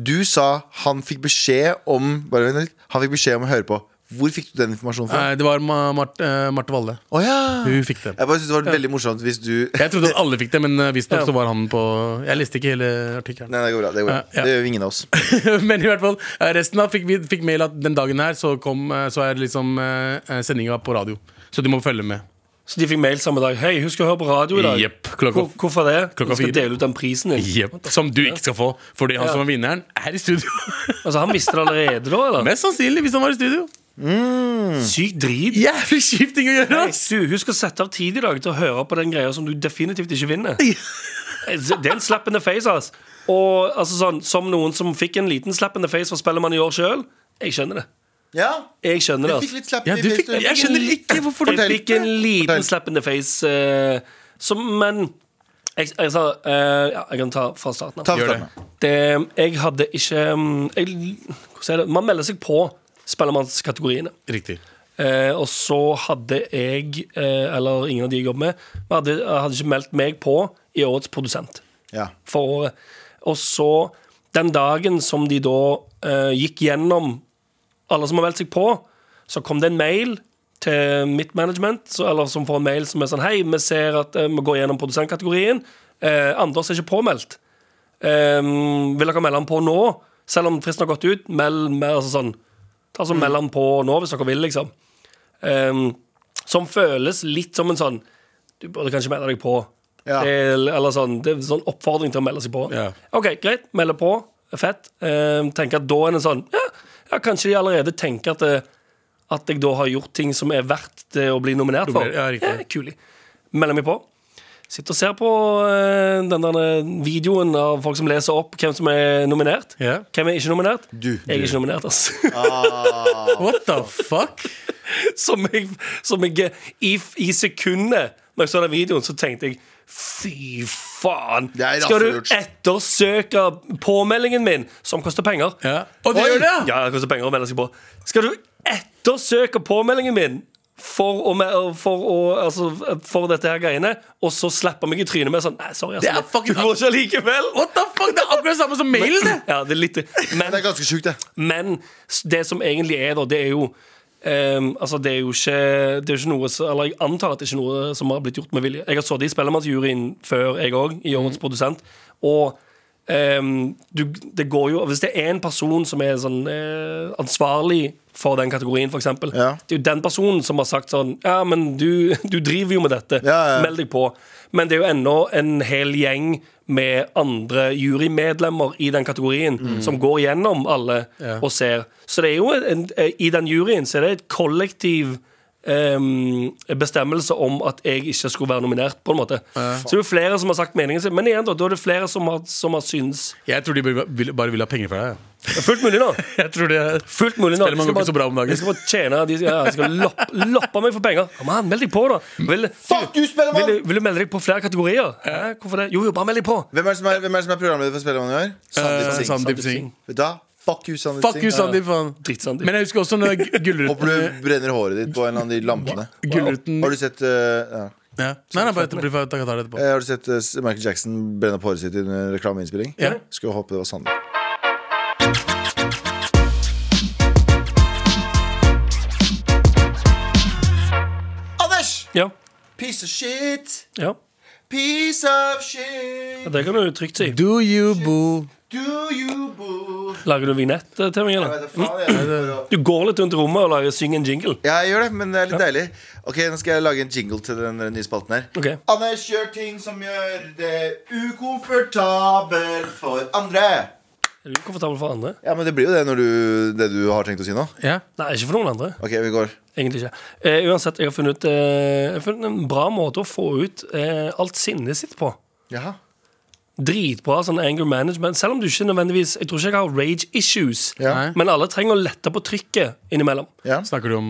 Speaker 2: Du sa han fikk beskjed om Bare vent litt. Han fikk beskjed om å høre på. Hvor fikk du den informasjonen fra?
Speaker 4: Nei, det var Ma Mart eh, Marte Valle.
Speaker 2: Å ja.
Speaker 4: Hun fikk den.
Speaker 2: Jeg bare synes det var veldig morsomt hvis du Nei,
Speaker 4: Jeg trodde at alle fikk det, men eh, visstnok
Speaker 3: Ja.
Speaker 4: så var han på Jeg leste ikke hele artikkelen.
Speaker 2: det går bra. Det, går bra.
Speaker 4: Ja, ja.
Speaker 2: det gjør ingen av oss.
Speaker 4: men i hvert fall, eh, resten av fikk, vi, fikk mail at den dagen her så, kom, eh, så er liksom eh, sendinga på radio. Så du må følge med.
Speaker 3: Så de fikk mail samme dag. Hei, husk å høre på radio i dag.
Speaker 4: Jepp, klokka-
Speaker 3: Hvor- Hvorfor det?
Speaker 4: klokka
Speaker 3: Vi skal
Speaker 4: fire.
Speaker 3: dele ut den prisen din.
Speaker 4: Jep. Som du ikke skal få, fordi han
Speaker 3: Ja.
Speaker 4: som var vinneren, er i studio.
Speaker 3: Altså, han visste det allerede da, eller?
Speaker 4: Mest sannsynlig, hvis han var i studio.
Speaker 3: Sykt drit.
Speaker 4: Jævlig kjipt ting å gjøre!
Speaker 3: Nei,
Speaker 4: ass.
Speaker 3: du, husk å sette av tid i dag til å høre på den greia som du definitivt ikke vinner. Det er en slap in the face, ass. Og altså, sånn, som noen som fikk en liten slap in the face for Spellemann i år sjøl, jeg skjønner det.
Speaker 2: Ja,
Speaker 3: Jeg skjønner
Speaker 2: du
Speaker 3: det,
Speaker 2: fikk
Speaker 3: ass.
Speaker 2: litt slapp
Speaker 4: Ja,
Speaker 2: i
Speaker 4: du fikk,
Speaker 2: fjeset.
Speaker 4: jeg skjønner ikke hvorfor du
Speaker 2: Fortell.
Speaker 3: Jeg fikk en liten
Speaker 2: Fortell.
Speaker 3: slap in the face, eh, som, men jeg, jeg sa eh, Ja, jeg kan ta fra starten
Speaker 2: Ta
Speaker 3: av.
Speaker 2: for
Speaker 4: Gjør
Speaker 2: starten.
Speaker 3: Det, jeg hadde ikke mm, jeg, Hvordan er det? Man melder seg på Spellemannskategoriene.
Speaker 4: Riktig.
Speaker 3: Eh, og så hadde jeg, eh, eller ingen av de jeg jobber med, men hadde, hadde ikke meldt meg på i årets produsent
Speaker 2: Ja.
Speaker 3: for året. Og så, den dagen som de da eh, gikk gjennom alle som har meldt seg på, så kom det en mail til mitt management, så, eller som får en mail som er sånn Hei, vi ser at eh, vi går gjennom produsentkategorien. Eh, Anders er ikke påmeldt. Ehm, Eh, vil dere melde han på nå? Selv om fristen har gått ut, meld mer altså sånn Ta sånn mellom på og nå, hvis dere vil, liksom. Ehm, som føles litt som en sånn Du burde kanskje melde deg på.
Speaker 2: Ja.
Speaker 3: Det er- eller sånn, det er en sånn oppfordring til å melde seg på.
Speaker 4: Ja.
Speaker 3: OK, greit. Melde på. Fett. Ehm, tenker at da er det sånn ja, ja, kanskje de allerede tenker at, det, at jeg da har gjort ting som er verdt det å bli nominert for.
Speaker 4: Nominert, ja, riktig.
Speaker 3: kuli. Melder meg på. Sitter og ser på eh, den der videoen av folk som leser opp hvem som er nominert.
Speaker 4: Ja.
Speaker 3: Hvem er ikke nominert?
Speaker 2: Du.
Speaker 3: Jeg er ikke nominert, ass.
Speaker 4: What the fuck?
Speaker 3: som jeg, som jeg i, I sekundet når jeg så den videoen, så tenkte jeg Fy faen!
Speaker 2: Det er
Speaker 3: Skal du
Speaker 2: rasselurt.
Speaker 3: ettersøke påmeldingen min, som koster penger?
Speaker 4: Ja. Og det
Speaker 2: Oi!
Speaker 4: gjør det, ja!
Speaker 3: Ja, det koster penger å melde seg på. Skal du ettersøke påmeldingen min for, å, me- for, å, altså, for dette her greiene, og så slapper meg i trynet med sånn Nei, sorry,
Speaker 4: Det er
Speaker 3: altså.
Speaker 4: fucking-
Speaker 3: Du får ikke allikevel.
Speaker 4: What the fuck? Det er akkurat det samme som mailen, det!
Speaker 3: Ja, det er litt Men
Speaker 2: Det er ganske sjukt, det.
Speaker 3: Men s- det som egentlig er da, det er jo ehm, altså det er jo ikke Det er jo ikke noe som- Eller jeg antar at det er ikke noe som har blitt gjort med vilje. Jeg har sittet i Spellemannsjuryen før, jeg òg, i Årets produsent. Og ehm, du, det går jo Hvis det er én person som er sånn eh, ansvarlig for den kategorien, f.eks., eksempel
Speaker 2: Ja.
Speaker 3: det er jo den personen som har sagt sånn Ja, men du, du driver jo med dette.
Speaker 2: Ja, ja.
Speaker 3: Meld deg på. Men det er jo ennå en hel gjeng med andre jurymedlemmer i den kategorien
Speaker 2: Mm.
Speaker 3: som går gjennom alle og ser. Så det er jo en, en, i den juryen så er det et kollektiv em, bestemmelse om at jeg ikke skulle være nominert, på en måte. Så det er jo flere som har sagt meningen sin. Men igjen, da, da er det flere som har, som har syns
Speaker 4: Jeg tror de bare vil, bare vil ha penger fra deg. ja.
Speaker 3: Det er Fullt mulig nå.
Speaker 4: Jeg tror det er
Speaker 3: Fullt mulig nå. De
Speaker 4: Spellemann
Speaker 3: skal
Speaker 4: går ikke så bra om dagen.
Speaker 3: De skal bare tjene de, ja, de skal lopp, loppe meg for penger. Ja, man, meld deg på, da. Vil,
Speaker 2: Fuck you, Spellemann!
Speaker 3: Vil, du- vil du melde deg på flere kategorier? Hæ? Hvorfor det? Jo, jo, bare meld deg på.
Speaker 2: Hvem er det som er, hvem er, det som er programleder for Spellemann i år?
Speaker 4: Eh,
Speaker 2: Sandeep Singh.
Speaker 4: Sandeep Singh.
Speaker 2: Vet du hva? Fuck you, Sandeep
Speaker 4: Fuck you,
Speaker 2: Singh.
Speaker 4: Sandeep. faen.
Speaker 3: Drittsandeep.
Speaker 4: Men jeg husker også når gu-
Speaker 2: Håper
Speaker 4: Gullruten
Speaker 2: du brenner håret ditt på en eller annen av de lampene.
Speaker 4: Gullruten
Speaker 2: Har du sett, eh, ja.
Speaker 4: ja. Nei, nei, bare etterpå. Vi får ta Qatar etterpå.
Speaker 2: Eh, har du sett eh, Michael Jackson brenne opp håret sitt i en eh, reklameinnspilling?
Speaker 4: Ja.
Speaker 2: Skulle håpe det var Sandeep. Anders!
Speaker 3: Ja.
Speaker 2: Piece of shit!
Speaker 3: ja.
Speaker 2: Piece of shit!
Speaker 3: Det kan du trygt si.
Speaker 4: Do you boo
Speaker 2: Do you boo?
Speaker 3: Lager du vignett eh, til meg,
Speaker 2: Jeg vet
Speaker 3: eller?
Speaker 2: da faen, jeg er for å-
Speaker 3: Du går litt rundt i rommet og lager syng en jingle.
Speaker 2: Ja, jeg gjør det, men det er litt deilig. Ok, Nå skal jeg lage en jingle til den eh, nye spalten her.
Speaker 3: Ok.
Speaker 2: Anders gjør ting som gjør det ukomfortabel for andre.
Speaker 3: Er du komfortabel for andre?
Speaker 2: Ja, men Det blir jo det når du, det du har tenkt å si nå.
Speaker 4: Ja.
Speaker 3: Nei, ikke for noen andre.
Speaker 2: Ok, vi går.
Speaker 3: Egentlig ikke. Eh, uansett, jeg har funnet, eh, jeg har funnet en bra måte å få ut eh, alt sinnet sitt på.
Speaker 2: Jaha.
Speaker 3: Dritbra sånn anger management. Selv om du ikke nødvendigvis Jeg tror ikke jeg har rage issues.
Speaker 2: Ja.
Speaker 4: Nei.
Speaker 3: Men alle trenger å lette på trykket innimellom.
Speaker 2: Ja.
Speaker 4: Snakker du om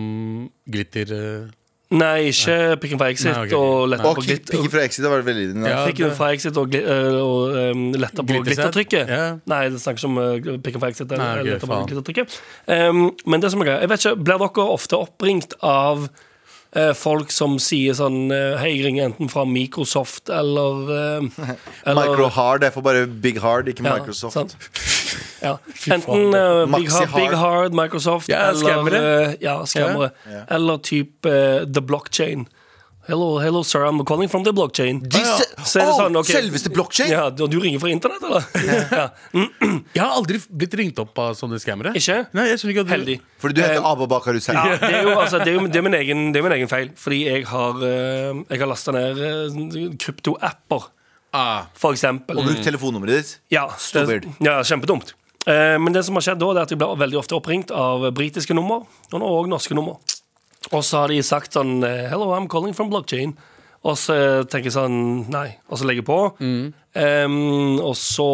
Speaker 4: glitter eh?
Speaker 3: Nei, ikke pikken fra Exit
Speaker 4: Nei, ok.
Speaker 3: og lette
Speaker 2: Og
Speaker 3: på
Speaker 2: Kick-
Speaker 3: glitter.
Speaker 2: Pikken fra Exit det var veldig liten.
Speaker 4: Ja.
Speaker 3: Pikken fra Exit og, gli- eh, og ehm, lette på
Speaker 4: Glittersett.
Speaker 3: glittertrykket.
Speaker 4: Ja.
Speaker 3: Nei, det snakker ikke om eh, pikken fra Exit.
Speaker 4: Nei,
Speaker 3: Eller,
Speaker 4: ok,
Speaker 3: lette på
Speaker 4: faen.
Speaker 3: glittertrykket. Ehm, men det som er greia Jeg vet ikke, Blir dere ofte oppringt av eh, folk som sier sånn eh, Hei, jeg ringer enten fra Microsoft eller, eh, eller
Speaker 2: Micro Hard. Jeg får bare Big Hard, ikke
Speaker 3: Ja,
Speaker 2: Microsoft.
Speaker 3: sant. Ja.
Speaker 4: faen,
Speaker 3: Enten eh, Big,
Speaker 2: Maxi
Speaker 3: Hard, Big
Speaker 2: Hard.
Speaker 3: Hard, Microsoft,
Speaker 4: Ja,
Speaker 3: eller,
Speaker 4: skammere.
Speaker 3: eh, ja, skammere.
Speaker 2: Ja.
Speaker 3: eller type eh, The Blockchain. Hello, hello, sir, I'm calling from the blockchain.
Speaker 2: De se-
Speaker 3: Så er det
Speaker 2: Åh,
Speaker 3: sånn, ok.
Speaker 2: Selveste blokkjede!
Speaker 3: Ja, du, du ringer fra internett, eller? ja.
Speaker 4: Jeg har aldri blitt ringt opp av sånne skammere.
Speaker 3: Ikke?
Speaker 4: Nei, jeg skjønner ikke at du
Speaker 3: Heldig.
Speaker 2: Fordi du heter Ababakar Hussein.
Speaker 3: Ja, det er jo altså, det er, jo, det er min, egen, det er min egen feil, fordi jeg har, eh, jeg har lasta ned eh, kryptoapper,
Speaker 4: Ah,
Speaker 3: for eksempel.
Speaker 2: Og bruk telefonnummeret ditt.
Speaker 3: Ja,
Speaker 2: Stupid.
Speaker 3: det, ja kjempedumt. Eh, men det som har skjedd da, det er at jeg blir veldig ofte oppringt av britiske nummer og nå også norske nummer. Og så har de sagt sånn eh, Hello, I'm calling from blockchain. Og så eh, tenker jeg sånn Nei. Og så legger jeg på. Em, og så,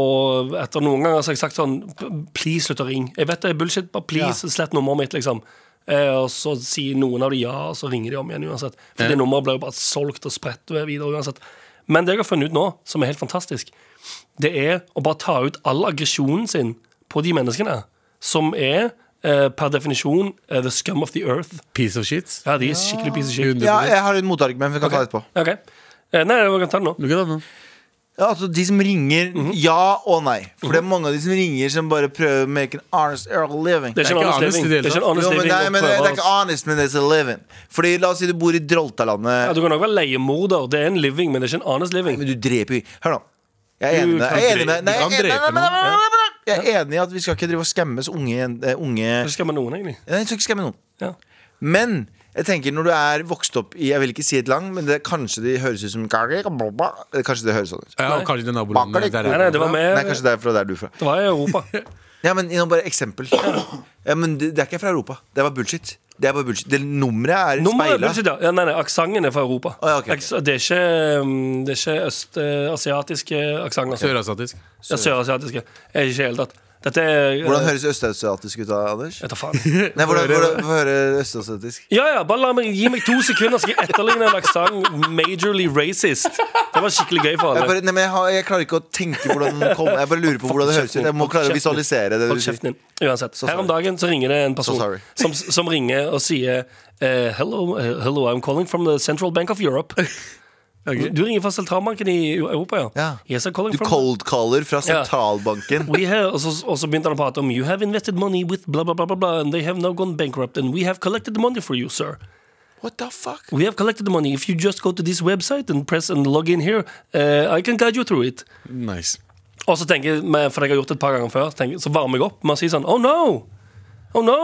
Speaker 3: etter noen ganger, så har jeg sagt sånn "P- Please, slutt å ringe. Jeg vet det er bullshit, bare please, slett nummeret mitt, liksom. Eh, og så sier noen av de ja, og så ringer de om igjen uansett. For det nummeret blir jo bare solgt og spredt videre uansett. Men det jeg har funnet ut nå, som er helt fantastisk, det er å bare ta ut all aggresjonen sin på de menneskene som er eh, per definisjon eh, the scum of the earth.
Speaker 4: piece of shit.
Speaker 3: Ja, de er skikkelig piece of shit.
Speaker 4: 100%.
Speaker 2: Ja, jeg har en motargument, vi kan ta det etterpå.
Speaker 3: Ok. Eh, nei, vi kan ta det nå.
Speaker 4: Du kan ta den nå.
Speaker 2: Ja, altså De som ringer
Speaker 3: Mhm.
Speaker 2: ja og nei. For det er mange av de som ringer, som bare prøver å make an honest early living.
Speaker 3: Det er ikke en
Speaker 4: Det er ikke
Speaker 3: honest
Speaker 4: honest i
Speaker 3: living.
Speaker 4: det
Speaker 3: Det er
Speaker 4: hele
Speaker 3: ikke en honest
Speaker 2: jo, men,
Speaker 3: living
Speaker 2: nei,
Speaker 3: å
Speaker 2: men det,
Speaker 3: prøve
Speaker 2: det er ikke
Speaker 3: å-
Speaker 2: honest, men it's a living. Fordi La oss si du bor i
Speaker 3: ja,
Speaker 2: Droltalandet.
Speaker 3: Du kan også være leiemorder. Det er en living, men det er ikke en honest living.
Speaker 2: Men du dreper jo Hør nå. Jeg er enig
Speaker 3: Du
Speaker 2: med deg.
Speaker 3: kan
Speaker 2: Jeg er enig med
Speaker 4: drepe-
Speaker 2: deg. Nei, jeg er enig-
Speaker 4: du kan
Speaker 2: nei, nei, nei, nei, nei, nei, nei, nei. Jeg er enig i at vi skal ikke drive og skammes unge, jen- eh, unge
Speaker 3: Det skal man noen, egentlig.
Speaker 2: Nei, Jeg skal ikke skamme noen.
Speaker 3: Ja.
Speaker 2: Men jeg tenker når du er vokst opp i Jeg vil ikke si et land, men det, kanskje det høres ut som Kanskje det høres sånn ut.
Speaker 4: Ja, og kanskje det er nabolandet der
Speaker 3: Nei, nei, det var
Speaker 2: Nei,
Speaker 3: med
Speaker 2: kanskje det er fra der du er fra.
Speaker 3: Det var i Europa.
Speaker 2: Ja, men nå bare eksempel. Ja, men det, det er ikke fra Europa. Det er bare bullshit. Det er bare bullshit. Det nummeret er
Speaker 3: Nummeret,
Speaker 2: speila.
Speaker 3: bullshit, ja. ja. Nei, nei, aksenten er fra Europa.
Speaker 2: Å, ja, ok, ok.
Speaker 3: Aks- Det er ikke, mm, det er ikke østasiatiske aksenter. Sør
Speaker 4: Sørasiatisk.
Speaker 3: ja, Sørasiatiske. Er ikke i det hele tatt. Dette er eh,
Speaker 2: Hvordan høres østasiatisk ut da, Anders?
Speaker 3: Jeg tar faen.
Speaker 2: Nei, hvordan, hvordan, hvordan hører østasiatisk?
Speaker 3: Ja, ja, bare la meg, gi meg to sekunder, så skal jeg etterligne en aksent majorly racist. Det var skikkelig gøy
Speaker 2: Jeg,
Speaker 3: for alle.
Speaker 2: bare, nei, men jeg, har, jeg klarer ikke å tenke hvordan den kom Jeg bare lurer på hvordan det høres ut. Jeg må klare å visualisere det du
Speaker 3: Hold kjeften
Speaker 2: sier.
Speaker 3: din. Uansett.
Speaker 2: sorry.
Speaker 3: Her om dagen så ringer det en person
Speaker 2: sorry.
Speaker 3: som, som ringer og sier eh, hello, eh, hello, I'm calling from the Central Bank of Europe. Du du ringer fra sentralbanken i Europa, ja?
Speaker 2: Ja.
Speaker 3: Yes, I'm calling
Speaker 2: Du
Speaker 3: from
Speaker 2: cold-caller fra
Speaker 3: Ja.
Speaker 2: sentralbanken.
Speaker 3: we have, og, så, og så begynte han å prate om You have invested money with blah, blah, blah, blah, blah And they have now gone bankrupt And we have collected the money for you, sir
Speaker 2: What the fuck?
Speaker 3: We have collected the money If you just go to this website And press and log in here eh, I can guide you through it
Speaker 4: Nice.
Speaker 3: Og så tenker jeg, men- for jeg har gjort det et par ganger før så tenker, jeg- Så varmer jeg opp med å si sånn Oh no! Oh no!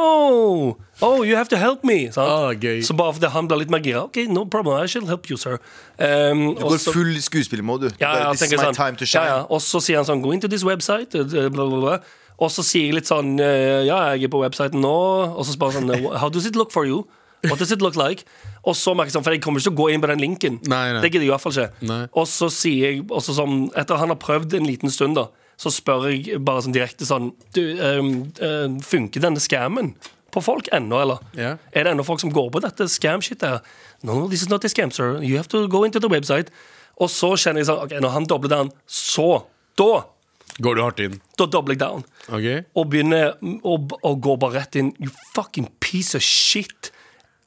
Speaker 3: Oh, you have to help me! sant?
Speaker 4: Ah, gøy.
Speaker 3: Så bare fordi han blir litt mer gira Ok, no problem, I shall help you, sir um,
Speaker 2: Du går full skuespillermode, du.
Speaker 3: ja, ja,
Speaker 2: This is
Speaker 3: tenker
Speaker 2: my
Speaker 3: sånn,
Speaker 2: time to
Speaker 3: ja, ja.
Speaker 2: shine.
Speaker 3: Og så sier han sånn Gå inn til this website eh, bla, bla, bla. Og så sier jeg litt sånn eh, Ja, jeg er på websiten nå Og så spør han sånn eh, How does it look for you? What does it look like? Og så merker jeg sånn For jeg kommer ikke til å gå inn på den linken
Speaker 4: Nei, nei.
Speaker 3: Det gidder jeg i hvert fall ikke
Speaker 4: Nei.
Speaker 3: Og så sier jeg også sånn Etter han har prøvd en liten stund da Så spør jeg bare sånn direkte sånn Du, eh, eh, funker denne scammen? På folk ennå, eller?
Speaker 4: Ja.
Speaker 3: Er det ennå folk som går på dette scam-shit her? No, no, this is not a scam, sir. You have to go into the website. Og så kjenner jeg sånn, ok, når han dobler down, så, da,
Speaker 4: Går du hardt inn?
Speaker 3: da dobler jeg down.
Speaker 4: Ok.
Speaker 3: Og begynner å, å gå bare rett inn, you fucking piece of shit,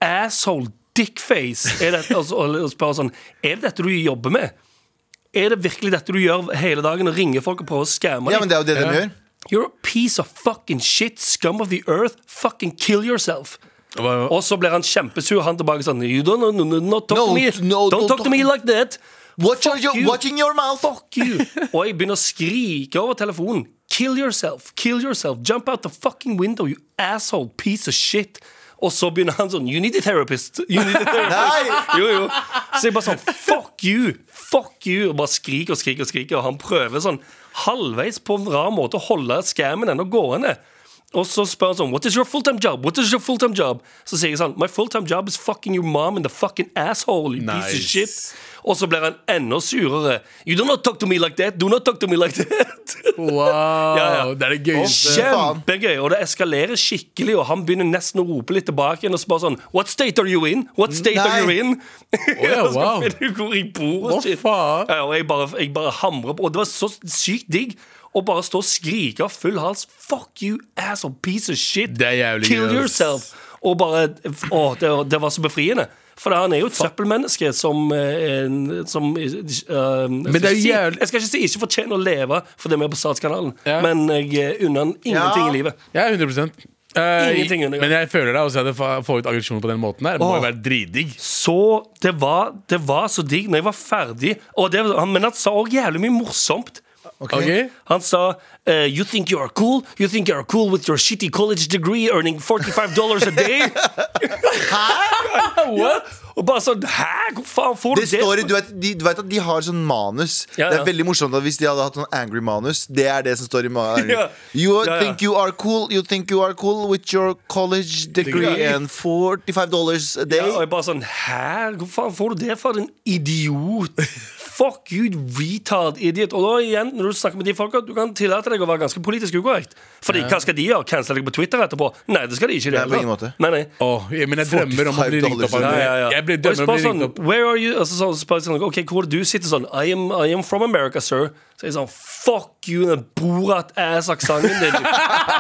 Speaker 3: asshole, dickface, er det, og, så- og spør sånn, er det dette du jobber med? Er det virkelig dette du gjør hele dagen, og ringer folk og prøver å skamme deg?
Speaker 2: Ja, men det er jo det de
Speaker 4: Ja.
Speaker 2: gjør.
Speaker 3: You're a piece of fucking shit, scum of the earth, fucking kill yourself.
Speaker 4: Hva-
Speaker 3: Og så blir han kjempesur. Han tilbake sånn You don't, no, no, no, not talk
Speaker 2: No,
Speaker 3: to me
Speaker 2: no,
Speaker 3: Don't talk to me like that.
Speaker 2: Watch
Speaker 3: Fuck
Speaker 2: your,
Speaker 3: you.
Speaker 2: watch in your mouth!
Speaker 3: Fuck you. Og jeg begynner å skrike over telefonen. Kill yourself. Kill yourself. Jump out the fucking window, you asshole piece of shit. Og så begynner han sånn You need a therapist. You need a therapist.
Speaker 2: Nei!
Speaker 3: Jo, jo. Så jeg bare sånn Fuck you! Fuck you! Og bare skriker og skriker og skriker. Og han prøver sånn halvveis på en rar måte å holde scammen ennå gående. Og så spør han sånn What is your fulltime job? What is your fulltime job? Så sier jeg sånn My fulltime job is fucking your mom in the fucking asshole, you piece of
Speaker 4: Nice.
Speaker 3: shit. Og så blir han enda surere. You do not talk to me like that. Do not talk to me like that.
Speaker 4: Wow,
Speaker 3: Ja, ja.
Speaker 4: det er det gøyeste.
Speaker 2: faen.
Speaker 3: Kjempegøy, og det eskalerer skikkelig. Og han begynner nesten å rope litt tilbake igjen og spørre sånn What state are you in? What state
Speaker 2: Nei.
Speaker 3: are you in?
Speaker 4: ja,
Speaker 3: Og så
Speaker 4: wow.
Speaker 3: finner du hvor jeg bor og
Speaker 4: Hva
Speaker 3: shit.
Speaker 4: faen?
Speaker 3: Ja, ja, og jeg bare, jeg bare hamrer på. Og det var så sykt digg. Å bare stå og skrike av full hals. Fuck you, ass og piece of shit.
Speaker 4: Det er jævlig
Speaker 3: Kill
Speaker 4: gøy, ass.
Speaker 3: yourself. Og bare Å, det, var- det var så befriende. For han er jo et søppelmenneske som, eh, en- som eh, eh,
Speaker 4: Men det er jo
Speaker 3: si-
Speaker 4: jævlig-
Speaker 3: Jeg skal ikke si ikke fortjener å leve for det vi er på Statskanalen,
Speaker 4: Ja.
Speaker 3: men jeg eh, unner han ingenting
Speaker 2: Ja.
Speaker 3: i livet.
Speaker 4: Ja, 100 Eh,
Speaker 3: Ingenting under-
Speaker 4: Men jeg føler deg også at jeg fa- får ut aggresjon på den måten her. Det må
Speaker 3: Åh.
Speaker 4: jo være dritdigg.
Speaker 3: Så det var, det var så digg når jeg var ferdig. Og det, han- men han sa òg jævlig mye morsomt.
Speaker 4: Ok?
Speaker 3: Han sa eh, You think you are cool? You think you are cool with your shitty college degree earning 45 dollars a day?
Speaker 4: What?
Speaker 3: Og bare sånn Hæ? Hvor faen får du
Speaker 2: Det
Speaker 3: det?
Speaker 2: står i, du, vet, de, du vet at de har sånn manus.
Speaker 3: Ja,
Speaker 2: Det
Speaker 3: ja.
Speaker 2: er veldig morsomt at Hvis de hadde hatt sånn angry manus, det er det som står i manus.
Speaker 3: Ja.
Speaker 2: You
Speaker 3: Ja, ja.
Speaker 2: think you are cool You think you are cool with your college degree
Speaker 4: Degree.
Speaker 2: and 45 dollars a day.
Speaker 3: Ja, og jeg bare sånn Hæ? Hvor faen får du det fra, din idiot? Fuck you, retard idiot. Og da igjen, når du snakker med de folka, du kan tillate deg å være ganske politisk ukorrekt. Fordi hva skal de gjøre? Cancele deg på Twitter etterpå? Nei, det skal de ikke. i Det,
Speaker 2: Nei, på
Speaker 3: hele
Speaker 2: ingen
Speaker 3: tatt.
Speaker 2: måte.
Speaker 3: Nei, nei.
Speaker 4: Åh, jeg, men jeg drømmer om å bli
Speaker 2: 45
Speaker 4: ringt opp av
Speaker 2: dollar.
Speaker 3: Ja, ja, ja.
Speaker 4: Jeg
Speaker 3: Og
Speaker 4: blir
Speaker 3: jeg
Speaker 4: drømmer om å
Speaker 3: spør
Speaker 4: bli
Speaker 3: sånn,
Speaker 4: ringt opp.
Speaker 3: Where are you? Altså, så spør jeg sånn, ok, hvor er du sitter sånn I am, I am from America, sir Så jeg sånn, fuck you, den borat-ass-aksangen din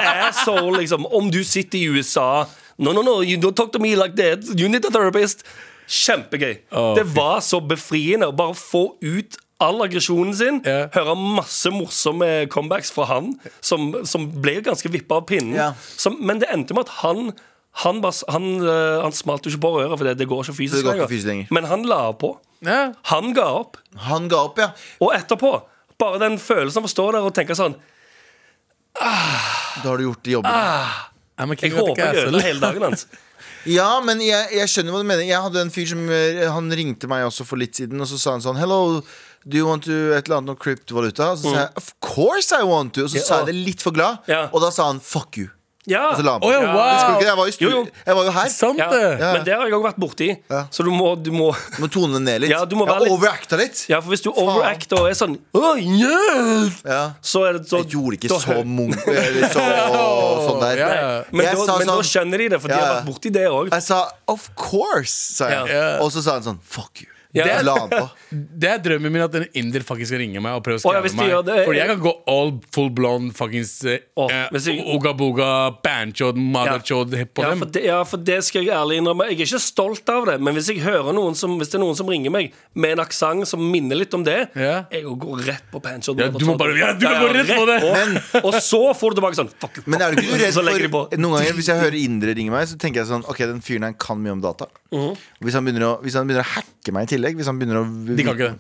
Speaker 3: Asshole, liksom Om du sitter i USA No, no, no, you don't talk to me like that You need a therapist Kjempegøy
Speaker 4: Å,
Speaker 3: Det var så befriende Å bare få ut all aggresjonen sin
Speaker 4: Ja.
Speaker 3: Høre masse morsomme comebacks fra han Som, som ble ganske vippet av pinnen
Speaker 2: Ja.
Speaker 3: Mm. som, Men det endte med at han han, bare s- han, eh, han smalt jo ikke på røret, for det, det går ikke fysisk
Speaker 2: Det går ikke fysisk lenger.
Speaker 3: men han la på.
Speaker 4: Ja.
Speaker 3: Han ga opp.
Speaker 2: Han ga opp, ja.
Speaker 3: Og etterpå, bare den følelsen av å stå der og tenke sånn
Speaker 2: Da har du gjort jobben.
Speaker 3: Ah.
Speaker 4: I'm a
Speaker 3: Jeg
Speaker 4: king of the
Speaker 3: håper jeg
Speaker 4: castle.
Speaker 3: ødela hele dagen hans.
Speaker 2: Ja, men jeg, jeg skjønner hva du mener. Jeg hadde en fyr som eh, Han ringte meg også for litt siden, og så sa han sånn Hello, do you want to et eller annet noe kryptovaluta? Og så sa jeg Of course I want to! Og så sa jeg det litt for glad,
Speaker 3: Mm. Ja.
Speaker 2: og da sa han fuck you.
Speaker 3: Ja.
Speaker 2: Og så la han på.
Speaker 4: Å ja,
Speaker 2: Men skulle
Speaker 4: wow!
Speaker 2: ikke det? Jeg var jo, stu-
Speaker 3: Jo, jo.
Speaker 2: Jeg var jo her.
Speaker 4: Sant
Speaker 3: Ja.
Speaker 4: det!
Speaker 3: Men det har jeg òg vært borti.
Speaker 2: Ja.
Speaker 3: Så du må, du må
Speaker 2: Må tone den ned litt.
Speaker 3: Ja, du må være
Speaker 2: jeg
Speaker 3: litt-
Speaker 2: overacta litt.
Speaker 3: Ja, for hvis du overacter og er sånn «Åh, hjelp!»
Speaker 2: Ja.
Speaker 3: Så er det så
Speaker 2: Jeg gjorde ikke
Speaker 3: da-
Speaker 2: så munk eller så, sånn der.
Speaker 4: Ja, ja.
Speaker 3: Nei, Men,
Speaker 2: Jeg
Speaker 3: da,
Speaker 2: sa
Speaker 3: men da
Speaker 2: sånn-
Speaker 3: skjønner de det, for de
Speaker 2: Ja,
Speaker 3: har
Speaker 2: ja.
Speaker 3: vært borti det òg.
Speaker 2: Jeg sa of course, sa jeg.
Speaker 4: Ja.
Speaker 2: Og så sa han sånn fuck you.
Speaker 3: Ja.
Speaker 2: Jeg La han på.
Speaker 4: Det er drømmen min at en inder faktisk skal ringe meg og prøve
Speaker 3: Å,
Speaker 4: å
Speaker 3: ja,
Speaker 4: skremme
Speaker 3: hvis de
Speaker 4: meg.
Speaker 3: gjør det-
Speaker 4: Fordi jeg kan gå all full blonde fuckings eh,
Speaker 3: Å,
Speaker 4: eh,
Speaker 3: hvis jeg-
Speaker 4: oga-boga, banchod, madarchod på
Speaker 3: Ja
Speaker 4: dem.
Speaker 3: for, det, ja, for det skal jeg ærlig innrømme. Jeg er ikke stolt av det, men hvis, jeg hører noen som, hvis det er noen som ringer meg med en aksent som minner litt om det,
Speaker 4: Ja.
Speaker 3: jeg går rett på panchod.
Speaker 4: Ja, du må bare- ja, du kan gå rett på det.
Speaker 3: Og så får du tilbake sånn fuck you.
Speaker 2: Men er du ikke redd
Speaker 3: Så legger de på.
Speaker 2: for Noen ganger Hvis jeg hører indere ringe meg, så tenker jeg sånn Ok, den fyren her kan mye om data.
Speaker 3: Mhm.
Speaker 2: hvis, han begynner å, hvis han begynner å hacke meg i tillegg Hvis han begynner å
Speaker 4: De kan ikke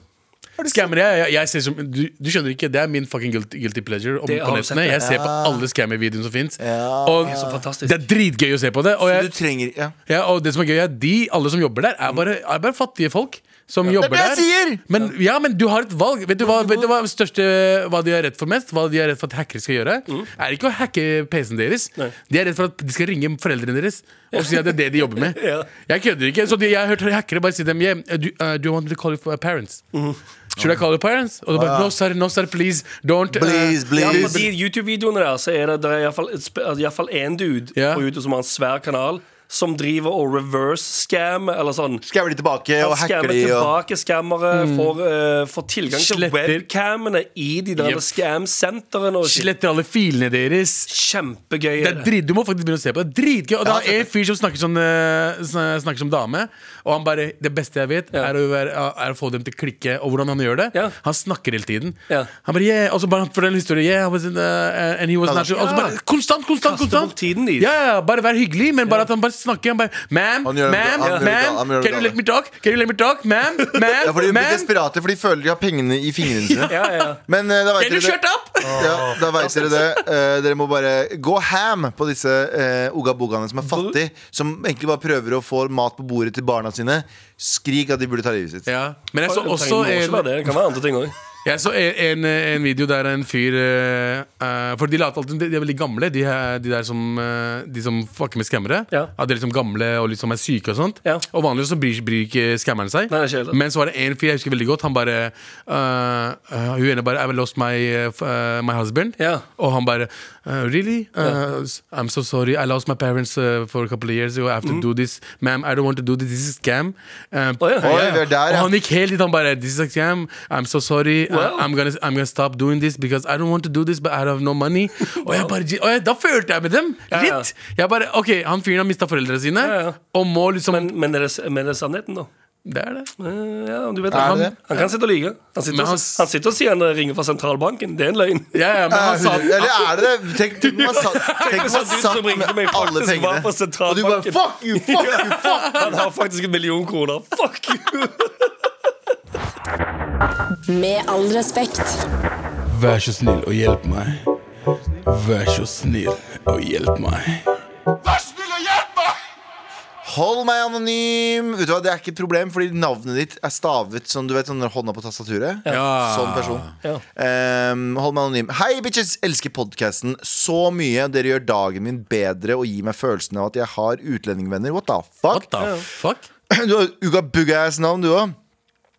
Speaker 4: det. Skammer jeg, jeg, jeg ser som, du, du skjønner ikke, det er min fucking guilty, guilty pleasure. Om,
Speaker 3: Det
Speaker 4: på
Speaker 3: har du sett
Speaker 4: nettene
Speaker 3: det.
Speaker 4: Jeg ser på alle scammer-videoene som fins.
Speaker 3: Det er så fantastisk.
Speaker 4: det er dritgøy å se på det. Og,
Speaker 2: Du
Speaker 4: jeg,
Speaker 2: trenger ja.
Speaker 4: ja, og det som er gøy, er at de, alle som jobber der, er bare, er bare fattige folk. Som
Speaker 2: Det
Speaker 4: jobber
Speaker 2: er det jeg
Speaker 4: der. Men, ja, men du har et valg. Vet du hva, vet du hva, største, hva de er redd for mest? Hva de er redd for at hackere skal gjøre?
Speaker 2: Mm.
Speaker 4: Er ikke å hacke PC-en deres.
Speaker 3: Nei.
Speaker 4: De er redd for at de skal ringe foreldrene deres og si at det er det de jobber med.
Speaker 3: Ja.
Speaker 4: Jeg kødder ikke. Så de, jeg har hørt hackere bare si dem yeah, do, uh, do you want me to call you for parents?
Speaker 2: Mm.
Speaker 4: Should I call your parents? Og de bare, no sir, no sir, please, don't uh,
Speaker 2: Ah. Please,
Speaker 3: Ja,
Speaker 2: please.
Speaker 3: på de YouTube-videoene der Så er det, det er iallfall én dude
Speaker 4: Ja.
Speaker 3: på YouTube som har en svær kanal, som driver og reverse-scam eller sånn.
Speaker 2: Skammer de tilbake og
Speaker 3: Han
Speaker 2: hacker
Speaker 3: skammer
Speaker 2: de og
Speaker 3: tilbake skammere,
Speaker 4: Mm.
Speaker 3: får, eh, får tilgang til
Speaker 4: Sletter-
Speaker 3: webcamene i de der
Speaker 4: Yep.
Speaker 3: scam-sentrene. og shit.
Speaker 4: Sletter alle filene deres.
Speaker 3: Kjempegøy.
Speaker 4: Det
Speaker 3: er
Speaker 4: er
Speaker 3: det.
Speaker 4: drit, du må faktisk begynne å se på det. Det er dritgøy. Og det
Speaker 2: Ja,
Speaker 4: er en fyr som snakker, sånn, eh, sn- snakker som dame, og han bare Det beste jeg vet, er, å være, er å få dem til å klikke, og hvordan han gjør det.
Speaker 3: Ja.
Speaker 4: Han snakker hele tiden.
Speaker 3: Ja.
Speaker 4: Han bare yeah, Og så bare han forteller historien. Yeah, I was in, uh, and he was natural. Og så bare konstant, konstant,
Speaker 3: Kaster
Speaker 4: konstant.
Speaker 3: bort tiden din.
Speaker 4: Ja, ja, bare vær hyggelig, men bare at han bare snakker. Han bare Ma'am,
Speaker 2: Han gjør det
Speaker 4: ma'am,
Speaker 2: bra. Han gjør det bra.
Speaker 4: ma'am,
Speaker 2: Han gjør det
Speaker 4: can
Speaker 2: bra.
Speaker 4: you let me talk? Can you let me talk? Ma'am, ma'am,
Speaker 2: ja, for De blir
Speaker 4: ma'am.
Speaker 2: desperate, for de føler de har pengene i fingrene sine.
Speaker 3: Ja, ja.
Speaker 2: Men eh, da veit
Speaker 4: Can you
Speaker 2: dere
Speaker 4: shut
Speaker 2: det.
Speaker 4: up?
Speaker 2: Ja, da vet dere det. Eh, dere må bare gå ham på disse uh, ogabogaene som er fattige, som egentlig bare prøver å få mat på bordet til barna sine. Skrik at de burde ta livet sitt.
Speaker 4: Ja. Men jeg
Speaker 3: Det
Speaker 4: så
Speaker 3: trenger-
Speaker 4: også
Speaker 3: må ikke
Speaker 4: en-
Speaker 3: være det. Det kan være andre ting òg.
Speaker 4: Jeg så en, en, en video der en fyr eh, eh, For de later alltid som de, de er veldig gamle, de, her- de der som, eh, de som fucker med skammere.
Speaker 3: Ja.
Speaker 4: At de er liksom gamle og liksom er syke og sånt.
Speaker 3: Ja.
Speaker 4: Og vanligvis så bryr, bryr ikke skammeren seg.
Speaker 3: Nei, det er ikke helt det.
Speaker 4: Men så var det en fyr jeg husker veldig godt, han bare eh, eh, Hun ene bare I lost my, eh, f- eh, my husband.
Speaker 3: Ja.
Speaker 4: Og han bare eh, Really? Eh, I'm so sorry. I lost my parents eh, for a couple of years ago. I have
Speaker 3: Mm.
Speaker 4: to do this. Ma'am, I don't want to do this. This is scam. Eh,
Speaker 3: Oi,
Speaker 2: Oi, vi er der,
Speaker 4: og
Speaker 2: ja.
Speaker 4: han gikk helt dit. Han bare This is a scam. I'm so sorry. I-
Speaker 3: Wow.
Speaker 4: I'm, gonna, I'm gonna stop doing this because I don't want to do this, but I have no money. Og jeg bare, og jeg, da følte jeg med dem
Speaker 3: Ja, ja.
Speaker 4: litt. Jeg bare, ok, Han fyren har mista foreldrene sine,
Speaker 3: Ja, ja.
Speaker 4: og må liksom
Speaker 3: Men, men, er det, men er det sannheten, da?
Speaker 4: Det er det.
Speaker 3: Eh, Ja, du vet
Speaker 2: Er
Speaker 3: han,
Speaker 2: det det?
Speaker 3: han kan sitte og lyve. Han, sitter
Speaker 4: Men
Speaker 3: og-
Speaker 4: han
Speaker 3: han
Speaker 4: s-
Speaker 3: sitter og sier han ringer fra sentralbanken. Det er en løgn.
Speaker 4: Ja, ja, men
Speaker 3: Ah,
Speaker 4: han
Speaker 2: Eh,
Speaker 4: sa
Speaker 2: Eller er det det? Tenk tenk om han satt, tenk om
Speaker 3: hvis han
Speaker 2: han
Speaker 3: du
Speaker 2: satt
Speaker 3: som ringte
Speaker 2: med
Speaker 3: meg
Speaker 2: alle
Speaker 3: faktisk var
Speaker 2: pengene. Og du
Speaker 3: på
Speaker 2: bare
Speaker 3: sentralbanken.
Speaker 2: fuck you, fuck you, fuck you.
Speaker 3: Han har faktisk en million kroner. Fuck you!
Speaker 5: Med all respekt.
Speaker 4: Vær så snill og hjelp meg. Vær så snill og hjelp meg.
Speaker 2: Hold meg anonym. Vet du hva, Det er ikke et problem, fordi navnet ditt er stavet som du vet, sånn hånda på tastaturet.
Speaker 4: Ja.
Speaker 2: Sånn person.
Speaker 3: Ja.
Speaker 2: Ehm, hold meg anonym. Hei, bitches! Elsker podkasten så mye. Dere gjør dagen min bedre og gir meg følelsen av at jeg har utlendingvenner. What the fuck?
Speaker 4: What the fuck?
Speaker 2: Du har Uga Bugga-ass navn, du òg.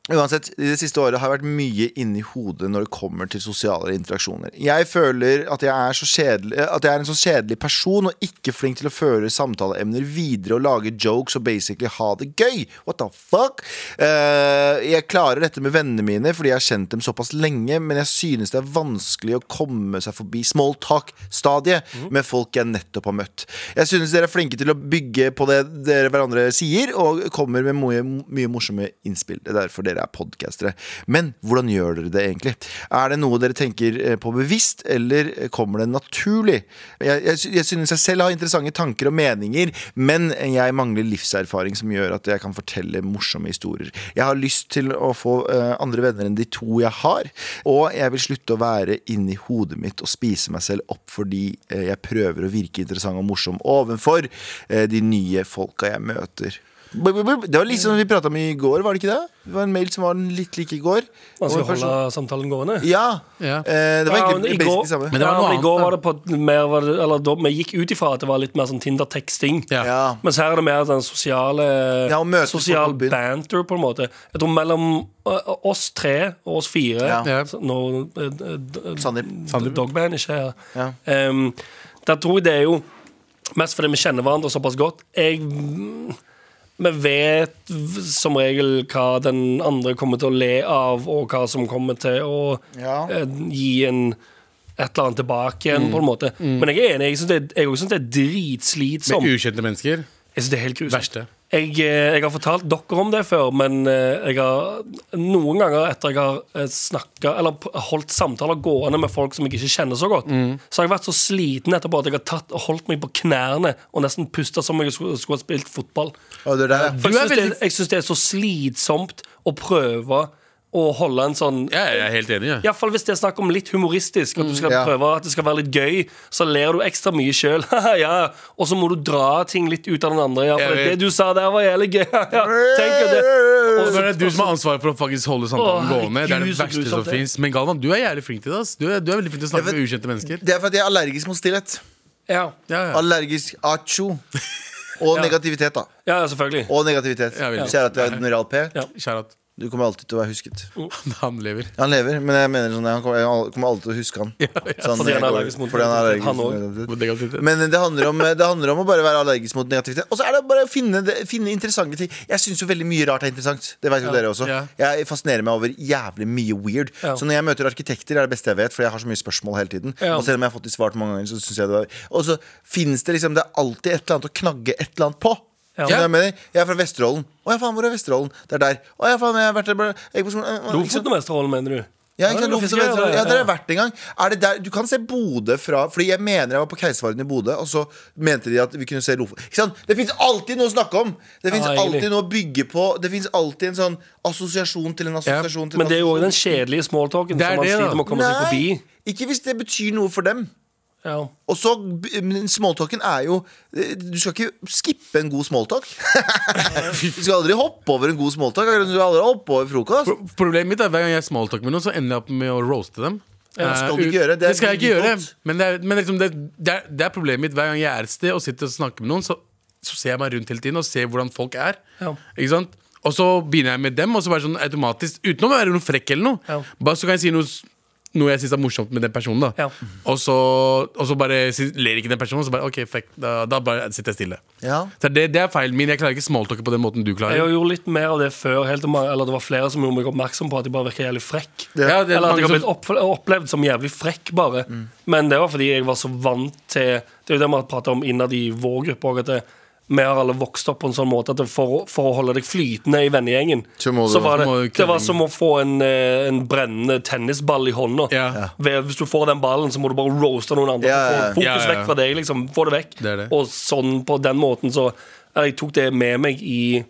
Speaker 2: Uansett, i det siste året har jeg vært mye inni hodet når det kommer til sosiale interaksjoner. Jeg føler at jeg er, så kjedelig, at jeg er en så kjedelig person og ikke flink til å føre samtaleemner videre og lage jokes og basically ha det gøy. What the fuck? Eh, jeg klarer dette med vennene mine fordi jeg har kjent dem såpass lenge, men jeg synes det er vanskelig å komme seg forbi small talk-stadiet med folk jeg nettopp har møtt. Jeg synes dere er flinke til å bygge på det dere hverandre sier, og kommer med mye, mye morsomme innspill. Det er derfor dere dere er podcastere. Men hvordan gjør dere det egentlig? Er det noe dere tenker eh, på bevisst, eller eh, kommer det naturlig? Jeg, jeg, sy- jeg synes jeg selv har interessante tanker og meninger, men jeg mangler livserfaring som gjør at jeg kan fortelle morsomme historier. Jeg har lyst til å få eh, andre venner enn de to jeg har, og jeg vil slutte å være inni hodet mitt og spise meg selv opp fordi eh, jeg prøver å virke interessant og morsom ovenfor eh, de nye folka jeg møter. Bu- bu- bu- Det var litt som vi prata om i går, var det ikke det? Det var en mail som var litt lik i går. Og
Speaker 3: Vanskelig
Speaker 2: en
Speaker 3: å
Speaker 2: person-
Speaker 3: holde samtalen gående.
Speaker 2: Ja.
Speaker 4: Ja.
Speaker 2: Eh, det var
Speaker 3: Ja,
Speaker 2: egentlig
Speaker 3: men i
Speaker 2: basically
Speaker 3: går-
Speaker 2: det samme.
Speaker 4: Men det var
Speaker 3: ja,
Speaker 4: noe
Speaker 3: men I går
Speaker 4: annet,
Speaker 3: var det på mer var det, Eller da, vi gikk ut ifra at det var litt mer sånn Tinder-teksting.
Speaker 4: Ja.
Speaker 2: Ja.
Speaker 3: Mens her er det mer den sosiale
Speaker 2: Ja, og møtes
Speaker 3: Sosial
Speaker 2: på byen.
Speaker 3: banter, på en måte. Jeg tror mellom ø, oss tre og oss fire
Speaker 2: Ja. Sånn
Speaker 4: Ja.
Speaker 3: så Nå ø, ø, d-
Speaker 2: Sandeep.
Speaker 4: Sandeep.
Speaker 3: Dogman ikke er
Speaker 2: Ja.
Speaker 3: her. Ehm, der tror jeg det er jo mest fordi vi kjenner hverandre såpass godt. Jeg vi vet v- som regel hva den andre kommer til å le av, og hva som kommer til å
Speaker 2: Ja. Mm.
Speaker 3: eh, gi en et eller annet tilbake igjen, på en måte. Men jeg er enig. Jeg syns det, er- jeg også synes det er
Speaker 4: Med
Speaker 3: dritslitsomt.
Speaker 4: ukjente mennesker.
Speaker 3: Jeg synes det er helt grusomt.
Speaker 4: Verste.
Speaker 3: Jeg, eh, jeg har fortalt dere om det før, men eh, jeg har noen ganger etter jeg har eh, snakket, eller p- holdt samtaler gående med folk som jeg ikke kjenner så godt,
Speaker 4: Mm.
Speaker 3: så har jeg vært så sliten etterpå at jeg har tatt, holdt meg på knærne og nesten pustet som om jeg skulle, skulle ha spilt fotball.
Speaker 2: Å, det der.
Speaker 3: For
Speaker 4: Du er
Speaker 3: jeg syns det,
Speaker 4: veldig-
Speaker 3: jeg synes det er så slitsomt å prøve å holde en sånn
Speaker 4: Ja, jeg er helt enig. jeg.
Speaker 3: Iallfall hvis det er snakk om litt humoristisk, at du skal
Speaker 2: Ja.
Speaker 3: prøve at det skal være litt gøy, så ler du ekstra mye sjøl. ja. Og så må du dra ting litt ut av den andre. Ja,
Speaker 4: Jeg
Speaker 3: for
Speaker 4: vet.
Speaker 3: det du sa der, var jævlig gøy. ja, tenk jo det. Og
Speaker 4: Så
Speaker 3: så-
Speaker 4: er det du som har ansvaret for å faktisk holde samtalen
Speaker 3: Åh,
Speaker 4: gående. Det er det
Speaker 3: herregud, så
Speaker 4: verste som
Speaker 3: grusomt det.
Speaker 4: finnes. Men Galvan, du er jævlig flink til det. ass. Du er, du er veldig flink til å snakke
Speaker 2: Jeg vet-
Speaker 4: med ukjente mennesker.
Speaker 2: Det er fordi jeg er allergisk mot stillhet.
Speaker 3: ja.
Speaker 4: Ja, ja.
Speaker 2: Allergisk acho. Og negativitet, da.
Speaker 3: ja, ja, selvfølgelig.
Speaker 2: Og negativitet.
Speaker 4: Ja, vel.
Speaker 2: Kjære at du er Admiral P.
Speaker 3: Ja.
Speaker 4: Kjære at
Speaker 2: Du kommer alltid til å være husket.
Speaker 4: han lever.
Speaker 2: Han lever, men jeg mener sånn, jeg kommer- jeg kommer alltid til å huske han. Sånn,
Speaker 3: Fordi
Speaker 2: jeg
Speaker 3: han er
Speaker 2: går-
Speaker 3: allergisk mot
Speaker 2: fordi han er allergisk
Speaker 3: negativitet. Han
Speaker 2: mot
Speaker 3: også.
Speaker 2: negativitet.
Speaker 4: Mot negativitet.
Speaker 2: Men det handler, om, det handler om å bare være allergisk mot negativitet. Og så er det bare å finne, det- finne interessante ting. Jeg syns jo veldig mye rart er interessant. Det vet jo dere også.
Speaker 4: Ja.
Speaker 2: Jeg fascinerer meg over jævlig mye weird.
Speaker 3: Ja.
Speaker 2: Så når jeg møter arkitekter, er det beste jeg vet, for jeg har så mye spørsmål hele tiden.
Speaker 3: Ja.
Speaker 2: Og selv om jeg har fått de svart mange ganger, så synes jeg det var Og så finnes det liksom Det er alltid et eller annet å knagge et eller annet på.
Speaker 3: Ja.
Speaker 2: Skjønner du hva Jeg, mener? jeg er fra Vesterålen. Å ja, faen, hvor er Vesterålen? Det er der. Å ja, faen, jeg har vært der bare jeg gikk på skolen. Å, ikke sant?
Speaker 3: Lofoten og Vesterålen, mener du?
Speaker 2: Ja, ikke sant?
Speaker 3: det var
Speaker 2: Lofoten og
Speaker 3: fiskegreier,
Speaker 2: Vesterålen. Ja, der har jeg
Speaker 3: ja.
Speaker 2: vært en gang. Er det der, du kan se Bodø fra Fordi jeg mener jeg var på Keiservaren i Bodø, og så mente de at vi kunne se Lofoten. Ikke sant? Det fins alltid noe å snakke om! Det fins
Speaker 3: Ja, egentlig.
Speaker 2: alltid noe å bygge på. Det fins alltid en sånn assosiasjon til en assosiasjon til en
Speaker 3: Men det er jo også
Speaker 2: assosiasjon.
Speaker 3: den kjedelige smalltalken
Speaker 4: Det er
Speaker 3: som man
Speaker 4: det, da.
Speaker 3: sliter med å komme seg
Speaker 2: Nei,
Speaker 3: forbi.
Speaker 2: Ikke hvis det betyr noe for dem.
Speaker 3: Ja.
Speaker 2: Og så, men Smalltalken er jo eh, Du skal ikke skippe en god smalltalk. du skal aldri hoppe over en god smalltalk. akkurat som Du skal aldri hoppe over frokost.
Speaker 4: Pro- Problemet mitt er hver gang jeg smalltalker med noen, så ender jeg opp med å roaste dem.
Speaker 2: det skal
Speaker 4: Eh,
Speaker 2: du ikke gjøre. Det er
Speaker 4: det skal jeg ikke gjøre.
Speaker 2: default.
Speaker 4: Men, det er, men liksom det, det, er, det er problemet mitt hver gang jeg er et sted og sitter og snakker med noen, så, så ser jeg meg rundt hele tiden og ser hvordan folk er.
Speaker 3: Ja.
Speaker 4: Ikke sant? Og så begynner jeg med dem, og så bare sånn automatisk, uten å være noe frekk eller noe,
Speaker 3: Ja.
Speaker 4: bare så kan jeg si noe s- noe jeg syns er morsomt med den personen. da
Speaker 3: Ja.
Speaker 4: og, så, og så bare sy- ler ikke den personen, og så bare OK, fuck, da, da bare sitter jeg stille.
Speaker 2: Ja.
Speaker 4: Så det, det er feilen min. Jeg klarer ikke smalltalke på den måten du klarer.
Speaker 3: Jeg gjorde litt mer av det før, helt til mange, eller det var flere som gjorde meg oppmerksom på at jeg bare virker jævlig frekk.
Speaker 4: Ja, det er
Speaker 3: Eller at jeg har
Speaker 4: mange
Speaker 3: blitt
Speaker 4: som- Mm.
Speaker 3: oppf- opplevd som jævlig frekk, bare. Men det var fordi jeg var så vant til Det er jo det vi har pratet om innad i vår gruppe òg, at det, vi har alle vokst opp på en sånn måte at det for, å- for å holde deg flytende i vennegjengen,
Speaker 2: Så må du-
Speaker 3: var det,
Speaker 4: så må du
Speaker 3: det var
Speaker 4: kødding.
Speaker 3: som å få en, eh, en brennende tennisball i hånda.
Speaker 4: Ja. Ja.
Speaker 3: Ved- Hvis du får den ballen, så må du bare roaste noen andre.
Speaker 2: Ja, ja, ja.
Speaker 3: Få fokus
Speaker 4: Ja, ja, ja.
Speaker 3: vekk fra deg, liksom. Få det vekk.
Speaker 4: Det er det.
Speaker 3: Og sånn, på den måten, så Jeg tok det med meg i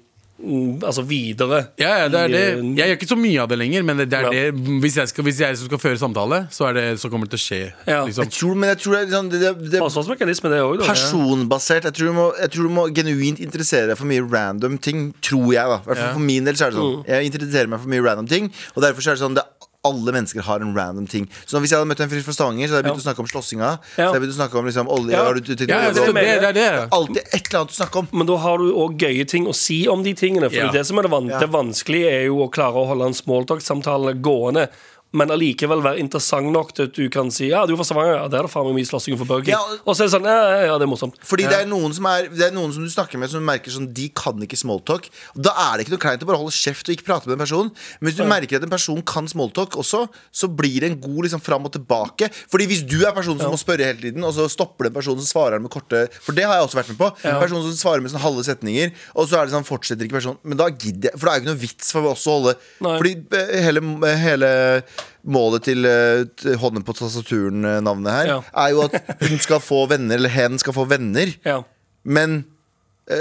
Speaker 3: mm, Altså videre.
Speaker 4: Ja, ja, det er
Speaker 3: i,
Speaker 4: det.
Speaker 3: eh,
Speaker 4: Jeg gjør ikke så mye av det lenger, men det, det er
Speaker 3: Ja.
Speaker 4: det. Hvis, jeg skal, hvis jeg som skal føre samtale, så, er det, så kommer det til å skje.
Speaker 3: Ja.
Speaker 4: Liksom.
Speaker 2: Jeg tror, men jeg tror det, er liksom- det, det, det
Speaker 3: Forsvarsmekanisme, det òg, da.
Speaker 2: personbasert. Jeg tror, du må, jeg tror du må genuint interessere deg for mye random ting. Tror jeg, da. I hvert fall
Speaker 4: Ja. Mm.
Speaker 2: for min del så er det sånn. Jeg interesserer meg for mye random ting, og derfor så er det sånn det alle mennesker har en random ting. Så Hvis jeg hadde møtt en fyr fra Stavanger, så hadde jeg begynt å
Speaker 3: Ja.
Speaker 2: snakke om slåssinga. Så
Speaker 3: Ja.
Speaker 2: hadde jeg begynt å snakke om liksom, olje
Speaker 3: Ja.
Speaker 2: har du tenkt
Speaker 4: Ja,
Speaker 2: å
Speaker 4: ja,
Speaker 2: gjøre
Speaker 4: det,
Speaker 2: det?
Speaker 4: det, det er det.
Speaker 2: Det er alltid et eller annet å snakke om.
Speaker 3: Men da har du òg gøye ting å si om de tingene. For
Speaker 4: Ja.
Speaker 3: det som er det, van
Speaker 2: Ja.
Speaker 3: det vanskelige, er jo å klare å holde en smalltalk-samtale gående. men allikevel være interessant nok til at du kan si Ja, du er fra Stavanger, ja, der er det faen meg mye slåssing for Burger King.
Speaker 2: Ja,
Speaker 3: og...
Speaker 2: og-
Speaker 3: så er det sånn Ja, ja, ja, det er morsomt.
Speaker 2: Fordi det, er noen som er, det er noen som du snakker med som merker sånn De kan ikke smalltalk. Da er det ikke noe kleint å bare holde kjeft og ikke prate med en person. Men hvis du merker at en person kan smalltalk også, så blir det en god liksom, fram og tilbake. Fordi hvis du er personen som må spørre hele tiden, og så stopper den personen som svarer med korte For det har jeg også vært med på. Personen som svarer med sånn halve setninger, og så er det sånn, fortsetter ikke personen. Men da gidder jeg, for det er jo ikke noe vits for oss å holde
Speaker 3: Nei.
Speaker 2: Fordi eh, hele, hele målet til eh, t- hånden på tastaturen-navnet her
Speaker 3: Ja.
Speaker 2: er jo at hun skal få venner, eller hen skal få venner.
Speaker 3: Ja.
Speaker 2: Men eh,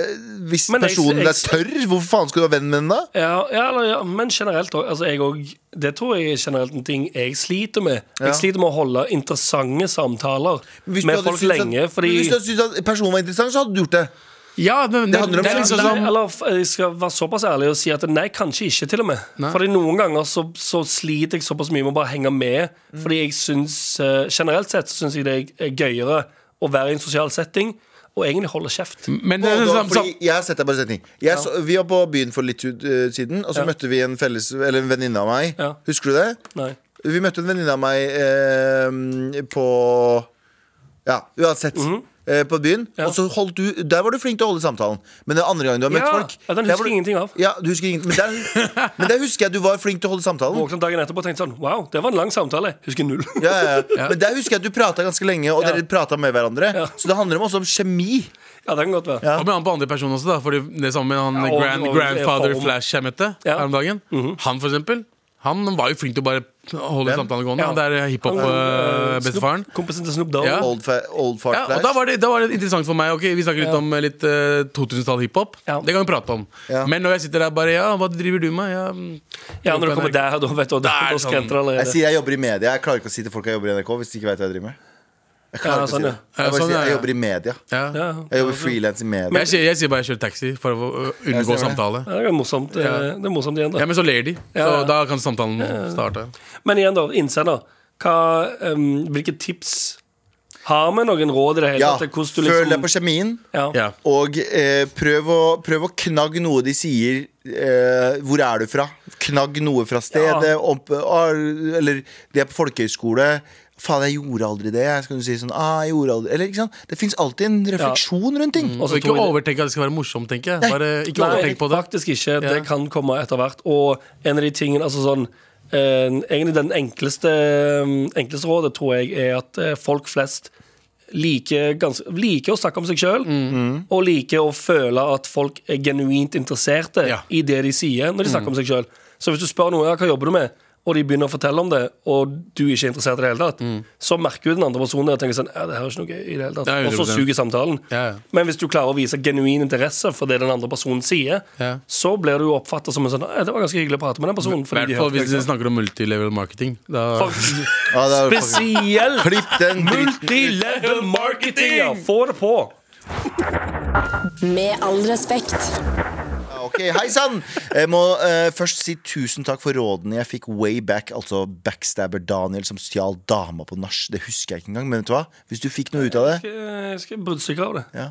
Speaker 2: hvis
Speaker 3: Men jeg-
Speaker 2: personen
Speaker 3: jeg-
Speaker 2: er tørr, hvorfor faen skal du være venn med den da?
Speaker 3: Ja, ja, eller, ja, men generelt òg. Altså, jeg òg- det tror jeg er generelt en ting jeg sliter med.
Speaker 2: Ja.
Speaker 3: Jeg sliter med å holde interessante samtaler
Speaker 2: Hvis du
Speaker 3: med
Speaker 2: hadde
Speaker 3: folk
Speaker 2: syntes at-
Speaker 3: lenge. Fordi
Speaker 2: Men Hvis du hadde syntes at personen var interessant, så hadde du gjort det.
Speaker 4: Ja, men det,
Speaker 2: handler om
Speaker 4: det er liksom
Speaker 3: Nei,
Speaker 4: sånn
Speaker 3: eller f- jeg skal være såpass ærlig og si at nei, kanskje ikke, til og med. Fordi noen ganger så, så sliter jeg såpass mye med å bare henge med.
Speaker 2: Mm.
Speaker 3: Fordi jeg syns eh, generelt sett så syns jeg det er gøyere å være i en sosial setting og egentlig holde kjeft.
Speaker 2: Mm.
Speaker 4: Men det er
Speaker 2: Og da,
Speaker 4: liksom
Speaker 2: fordi
Speaker 4: sånn
Speaker 2: jeg har sett deg bare setning jeg, så, Vi var på byen for litt ut, eh, siden, og så
Speaker 3: Ja.
Speaker 2: møtte vi en, felles, eller en venninne av meg.
Speaker 3: Ja.
Speaker 2: Husker du det?
Speaker 3: Nei.
Speaker 2: Vi møtte en venninne av meg eh, på Ja, uansett. eh, På byen.
Speaker 3: Mhm. Ja.
Speaker 2: Og så holdt du Der var du flink til å holde samtalen. Men den andre gangen du har møtt
Speaker 3: Ja,
Speaker 2: folk
Speaker 3: ja, den
Speaker 2: der
Speaker 3: husker
Speaker 2: var du,
Speaker 3: jeg ingenting av.
Speaker 2: Ja, du husker ingenting Men der, men der husker jeg at du var flink til å holde samtalen.
Speaker 3: Våknet dagen etterpå og tenkte sånn Wow, det var en lang samtale. Husker null.
Speaker 2: Ja, ja, ja. Men der husker jeg at du prata ganske lenge, og dere prata med hverandre. Så det handler om- også om kjemi.
Speaker 3: Ja, det kan godt være.
Speaker 2: Ja.
Speaker 4: Og med han på andre personer også, da. Fordi det er sammen med han
Speaker 3: Ja, og-
Speaker 4: grand,
Speaker 3: og-
Speaker 4: grandfather
Speaker 3: og-
Speaker 4: Flash jeg møtte
Speaker 3: Ja.
Speaker 4: her om dagen. Han, for eksempel. Han var jo flink til å bare holde
Speaker 2: Hvem?
Speaker 4: samtalen gående.
Speaker 3: Ja.
Speaker 4: Han der
Speaker 3: Han, eh,
Speaker 4: hiphop-bestefaren.
Speaker 3: Snoop- Kompisen til Snoop Dogg.
Speaker 4: Ja.
Speaker 2: Old, fa old fart
Speaker 4: Ja, og
Speaker 2: flash.
Speaker 4: da var, det, da var det interessant for meg. Ok, Vi snakker litt om eh, litt eh, 2000-tall hiphop.
Speaker 3: Ja.
Speaker 4: Det kan vi prate om.
Speaker 2: Ja.
Speaker 4: Men når jeg sitter der bare Ja, hva driver du med? Ja, mm,
Speaker 3: Ja, når du kommer der, da vet du, da,
Speaker 4: Der,
Speaker 3: da
Speaker 2: Jeg
Speaker 3: skrenter det allerede.
Speaker 2: sier jeg jobber i media. Jeg klarer ikke å si til folk jeg jobber i NRK hvis de ikke vet hva jeg driver med. Jeg klarer
Speaker 3: Ja,
Speaker 2: ikke å si
Speaker 3: sånn,
Speaker 2: det.
Speaker 3: ja.
Speaker 2: Jeg
Speaker 4: Ja,
Speaker 2: bare
Speaker 4: sånn,
Speaker 2: sier
Speaker 4: ja,
Speaker 2: jeg
Speaker 4: ja.
Speaker 2: jobber i media.
Speaker 4: ja.
Speaker 3: Ja.
Speaker 2: Jeg jobber frilans i media.
Speaker 4: Men jeg, sier, jeg sier bare 'kjør taxi' for å øh, unngå
Speaker 2: stemmer det.
Speaker 4: samtale.
Speaker 3: Ja, Det er morsomt, eh, det er morsomt igjen, da.
Speaker 4: Ja, Men så ler de, så
Speaker 3: Ja, ja.
Speaker 4: da kan samtalen starte.
Speaker 3: Men igjen, da. Innsender. Hva, em, hvilke tips har vi noen råd i det hele
Speaker 2: Ja,
Speaker 3: tatt? Hvordan du
Speaker 2: Føl deg
Speaker 3: liksom
Speaker 2: på kjemien,
Speaker 3: ja.
Speaker 4: Ja.
Speaker 2: og eh, prøv, å, prøv å knagge noe de sier. Eh, hvor er du fra? Knagg noe fra stedet.
Speaker 3: Ja.
Speaker 2: Opp, ah, eller de er på folkehøyskole. Faen, jeg gjorde aldri det. Så kan du si sånn ah, jeg gjorde aldri Eller ikke sant? Det fins alltid en refleksjon rundt ting.
Speaker 3: Mm.
Speaker 4: Og
Speaker 3: så
Speaker 4: ikke
Speaker 3: tror jeg-
Speaker 4: overtenk at det skal være morsomt, tenker jeg. Bare, Eh, ikke
Speaker 3: Nei,
Speaker 4: overtenk på det.
Speaker 3: faktisk ikke.
Speaker 4: Ja.
Speaker 3: Det kan komme etter hvert. Og en av de tingene altså sånn, eh, Egentlig den enkleste, eh, enkleste rådet tror jeg er at eh, folk flest liker, ganske, liker å snakke om seg sjøl,
Speaker 4: Mm.
Speaker 3: og liker å føle at folk er genuint interesserte
Speaker 4: Ja.
Speaker 3: i det de sier når de snakker om seg sjøl. Så hvis du spør noen ja, hva jobber du med, og de begynner å fortelle om det, og du ikke er interessert i det hele tatt,
Speaker 4: Mm.
Speaker 3: så merker jo den andre personen det og tenker sånn Ja, det her er ikke noe gøy i det hele tatt.
Speaker 4: Ja,
Speaker 3: og så
Speaker 4: 100%.
Speaker 3: suger samtalen.
Speaker 4: Ja, ja.
Speaker 3: Men hvis du klarer å vise genuin interesse for det den andre personen sier,
Speaker 4: Ja.
Speaker 3: så blir du jo oppfatta som en sånn «Nei, Det var ganske hyggelig å prate med den personen.
Speaker 4: I
Speaker 3: Fordi de
Speaker 4: hvert fall
Speaker 3: hørte liksom-
Speaker 4: hvis
Speaker 3: meg
Speaker 4: dere snakker om multilevel marketing. Da,
Speaker 3: snakke».
Speaker 2: Ja, det er jo faktisk-
Speaker 3: Spesielt
Speaker 2: Klipp den dritten.
Speaker 3: multilevel marketing! Ja, få det på!
Speaker 5: Med all respekt.
Speaker 2: Ok, hei sann! Jeg må eh, først si tusen takk for rådene jeg fikk way back. Altså backstabber Daniel som stjal dama på nach. Det husker jeg ikke engang, men vet du hva? Hvis du fikk noe ut av det
Speaker 3: Jeg skal bruddstykke av det.
Speaker 2: Ja,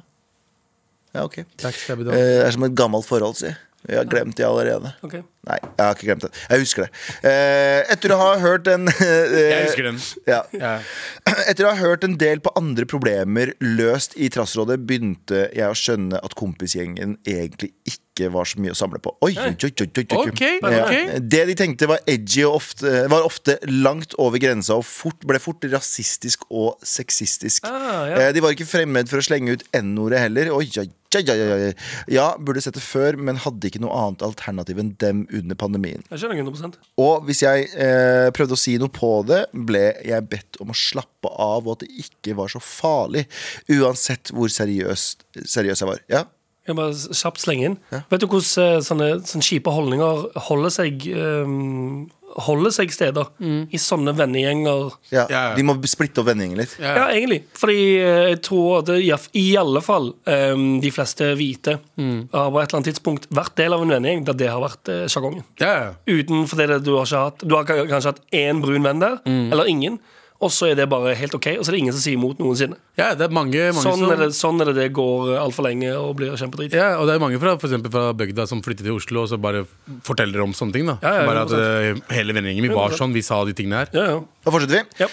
Speaker 2: ja ok. Eh,
Speaker 4: Backstabby
Speaker 2: Det
Speaker 4: dog.
Speaker 2: er som et gammelt forhold, si. Jeg har glemt det allerede.
Speaker 3: Ok.
Speaker 2: Nei, jeg har ikke glemt det. Jeg husker det. Eh, etter å ha hørt en
Speaker 4: jeg husker den.
Speaker 2: Ja.
Speaker 4: Ja.
Speaker 2: Etter å ha hørt en del på andre problemer løst i Trassrådet, begynte jeg å skjønne at kompisgjengen egentlig ikke var så mye å samle på. Oi, oi, oi, oi, oi, oi.
Speaker 4: Ok, ok.
Speaker 2: Det de tenkte var edgy og ofte, var ofte langt over grensa og fort, ble fort rasistisk og sexistisk.
Speaker 3: Ah, ja.
Speaker 2: Eh, De var ikke fremmed for å slenge ut N-ordet heller. Oi, oi, oi, oi, oi. Ja, burde sett det før, men hadde ikke noe annet alternativ enn dem under pandemien.
Speaker 3: Jeg skjønner 100
Speaker 2: Og hvis jeg eh, prøvde å si noe på det, ble jeg bedt om å slappe av, og at det ikke var så farlig. Uansett hvor seriøs, seriøs jeg var. Ja?
Speaker 3: Jeg bare s- kjapt slenge inn. Vet du hvordan eh, sånne, sånne kjipe holdninger holder seg ehm, Holder seg steder i sånne vennegjenger?
Speaker 2: Ja.
Speaker 4: Ja, ja.
Speaker 2: De må splitte opp vendingen litt.
Speaker 4: Ja.
Speaker 3: Ja, egentlig. Fordi eh, jeg tror at det, i hvert- i alle fall em, de fleste hvite
Speaker 4: Mm.
Speaker 3: har på et eller annet tidspunkt vært del av en vennegjeng der det har vært eh, sjargongen.
Speaker 4: Ja, ja. Mm.
Speaker 3: Uten fordi det, du har ikke hatt Du har ka- kanskje hatt én brun venn der, eller ingen. og så er det bare helt OK, og så er det ingen som sier imot noensinne.
Speaker 4: Ja, det er mange, mange
Speaker 3: Sånn
Speaker 4: som,
Speaker 3: er det sånn er det, det går altfor lenge og blir kjempedrit.
Speaker 4: Ja, og det er mange fra, for eksempel fra bygda som flytter til Oslo og så bare forteller om sånne ting. da
Speaker 3: Ja, ja,
Speaker 4: Bare at eh, hele vennegjengen min var sånn, vi sa de tingene her.
Speaker 3: Ja, ja.
Speaker 2: Da fortsetter vi.
Speaker 3: Ja.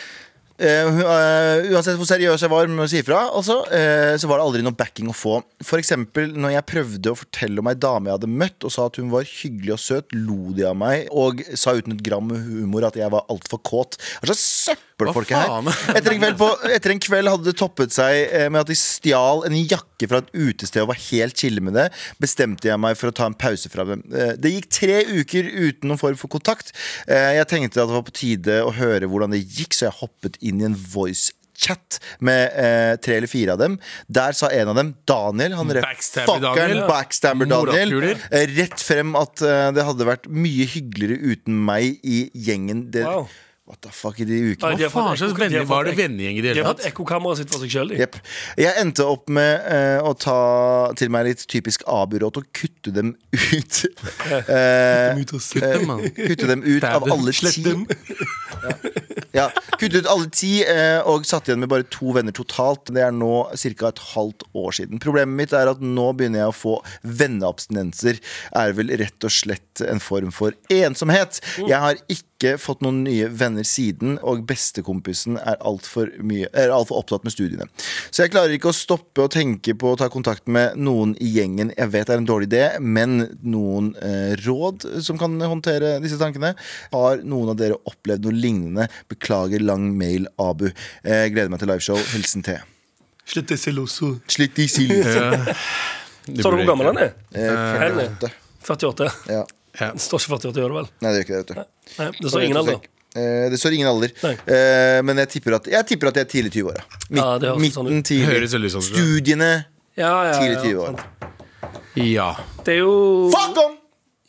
Speaker 2: Eh, hun- eh, uansett hvor seriøs jeg var med å si ifra, altså, eh, så var det aldri noe backing å få. For eksempel når jeg prøvde å fortelle om ei dame jeg hadde møtt, og sa at hun var hyggelig og søt, lo de av meg og sa uten et gram humor at jeg var altfor kåt. Hva slags søppelfolk er
Speaker 4: Hva
Speaker 2: her? Etter en, kveld på, etter en kveld hadde det toppet seg eh, med at de stjal en jakke fra et utested og var helt chille med det. Bestemte jeg meg for å ta en pause fra dem. Eh, Det gikk tre uker uten noen form for kontakt. Eh, Jeg tenkte at det var på tide å høre hvordan det gikk, så jeg hoppet inn i en voice chat med eh, tre eller fire av dem. Der sa en av dem, Daniel, han rett
Speaker 4: Backstabber
Speaker 2: fuckeren
Speaker 4: Daniel.
Speaker 2: backstabber Daniel,
Speaker 4: Morapuler.
Speaker 2: eh, rett frem at eh, det hadde vært mye hyggeligere uten meg i gjengen. Det,
Speaker 3: Wow.
Speaker 2: What the fuck i de ukene?
Speaker 3: Nei, de har
Speaker 4: Hva
Speaker 3: fått
Speaker 4: faen slags
Speaker 3: ekko- de har
Speaker 4: venner
Speaker 3: fått
Speaker 4: var det
Speaker 3: ekko-
Speaker 4: vennegjeng i det
Speaker 3: De
Speaker 4: hele
Speaker 3: har fått
Speaker 4: tatt?
Speaker 3: ekkokammeret sitt for seg sjøl.
Speaker 2: Jep. Jeg endte opp med eh, å ta til meg litt typisk A-byråd og kutte dem ut. Eh,
Speaker 4: Kutt dem, mann.
Speaker 2: kutte dem ut av
Speaker 4: Dæven,
Speaker 2: alle
Speaker 4: slett
Speaker 2: ti.
Speaker 4: dem.
Speaker 2: Ja, kutte ut alle ti eh, og satt igjen med bare to venner totalt. Det er nå ca. et halvt år siden. Problemet mitt er at nå begynner jeg å få venneabstinenser. Er vel rett og slett en form for ensomhet.
Speaker 4: Uh.
Speaker 2: Jeg har ikke fått noen nye venner siden, og bestekompisen er altfor alt opptatt med studiene. Så jeg klarer ikke å stoppe å tenke på å ta kontakt med noen i gjengen. Jeg vet det er en dårlig idé, men noen eh, råd som kan håndtere disse tankene? Har noen av dere opplevd noe lignende? Beklager lang mail, Abu. Eh, gleder meg til liveshow. Hilsen T.
Speaker 3: Slutt å selge også.
Speaker 2: Slitt i sild.
Speaker 4: De
Speaker 3: Så du
Speaker 4: Eh, burde
Speaker 3: hvor gammel han er?
Speaker 2: Eh, 48.
Speaker 3: 48.
Speaker 2: Ja.
Speaker 4: Ja.
Speaker 3: Det står ikke 48, gjør det vel?
Speaker 2: Nei, det gjør ikke det, vet du.
Speaker 3: Nei, det står ingen alder.
Speaker 2: Eh, det står ingen alder.
Speaker 3: Nei.
Speaker 2: Eh, men jeg tipper at jeg tipper at jeg er tidlig 20-åra.
Speaker 3: Ja, det høres sånn ut.
Speaker 2: Midten, tidlig.
Speaker 4: Høres veldig sånn ut.
Speaker 2: Studiene,
Speaker 3: Ja, ja, ja,
Speaker 2: tidlig 20 år
Speaker 3: sant.
Speaker 4: Ja.
Speaker 3: Det er jo
Speaker 2: Fuck om!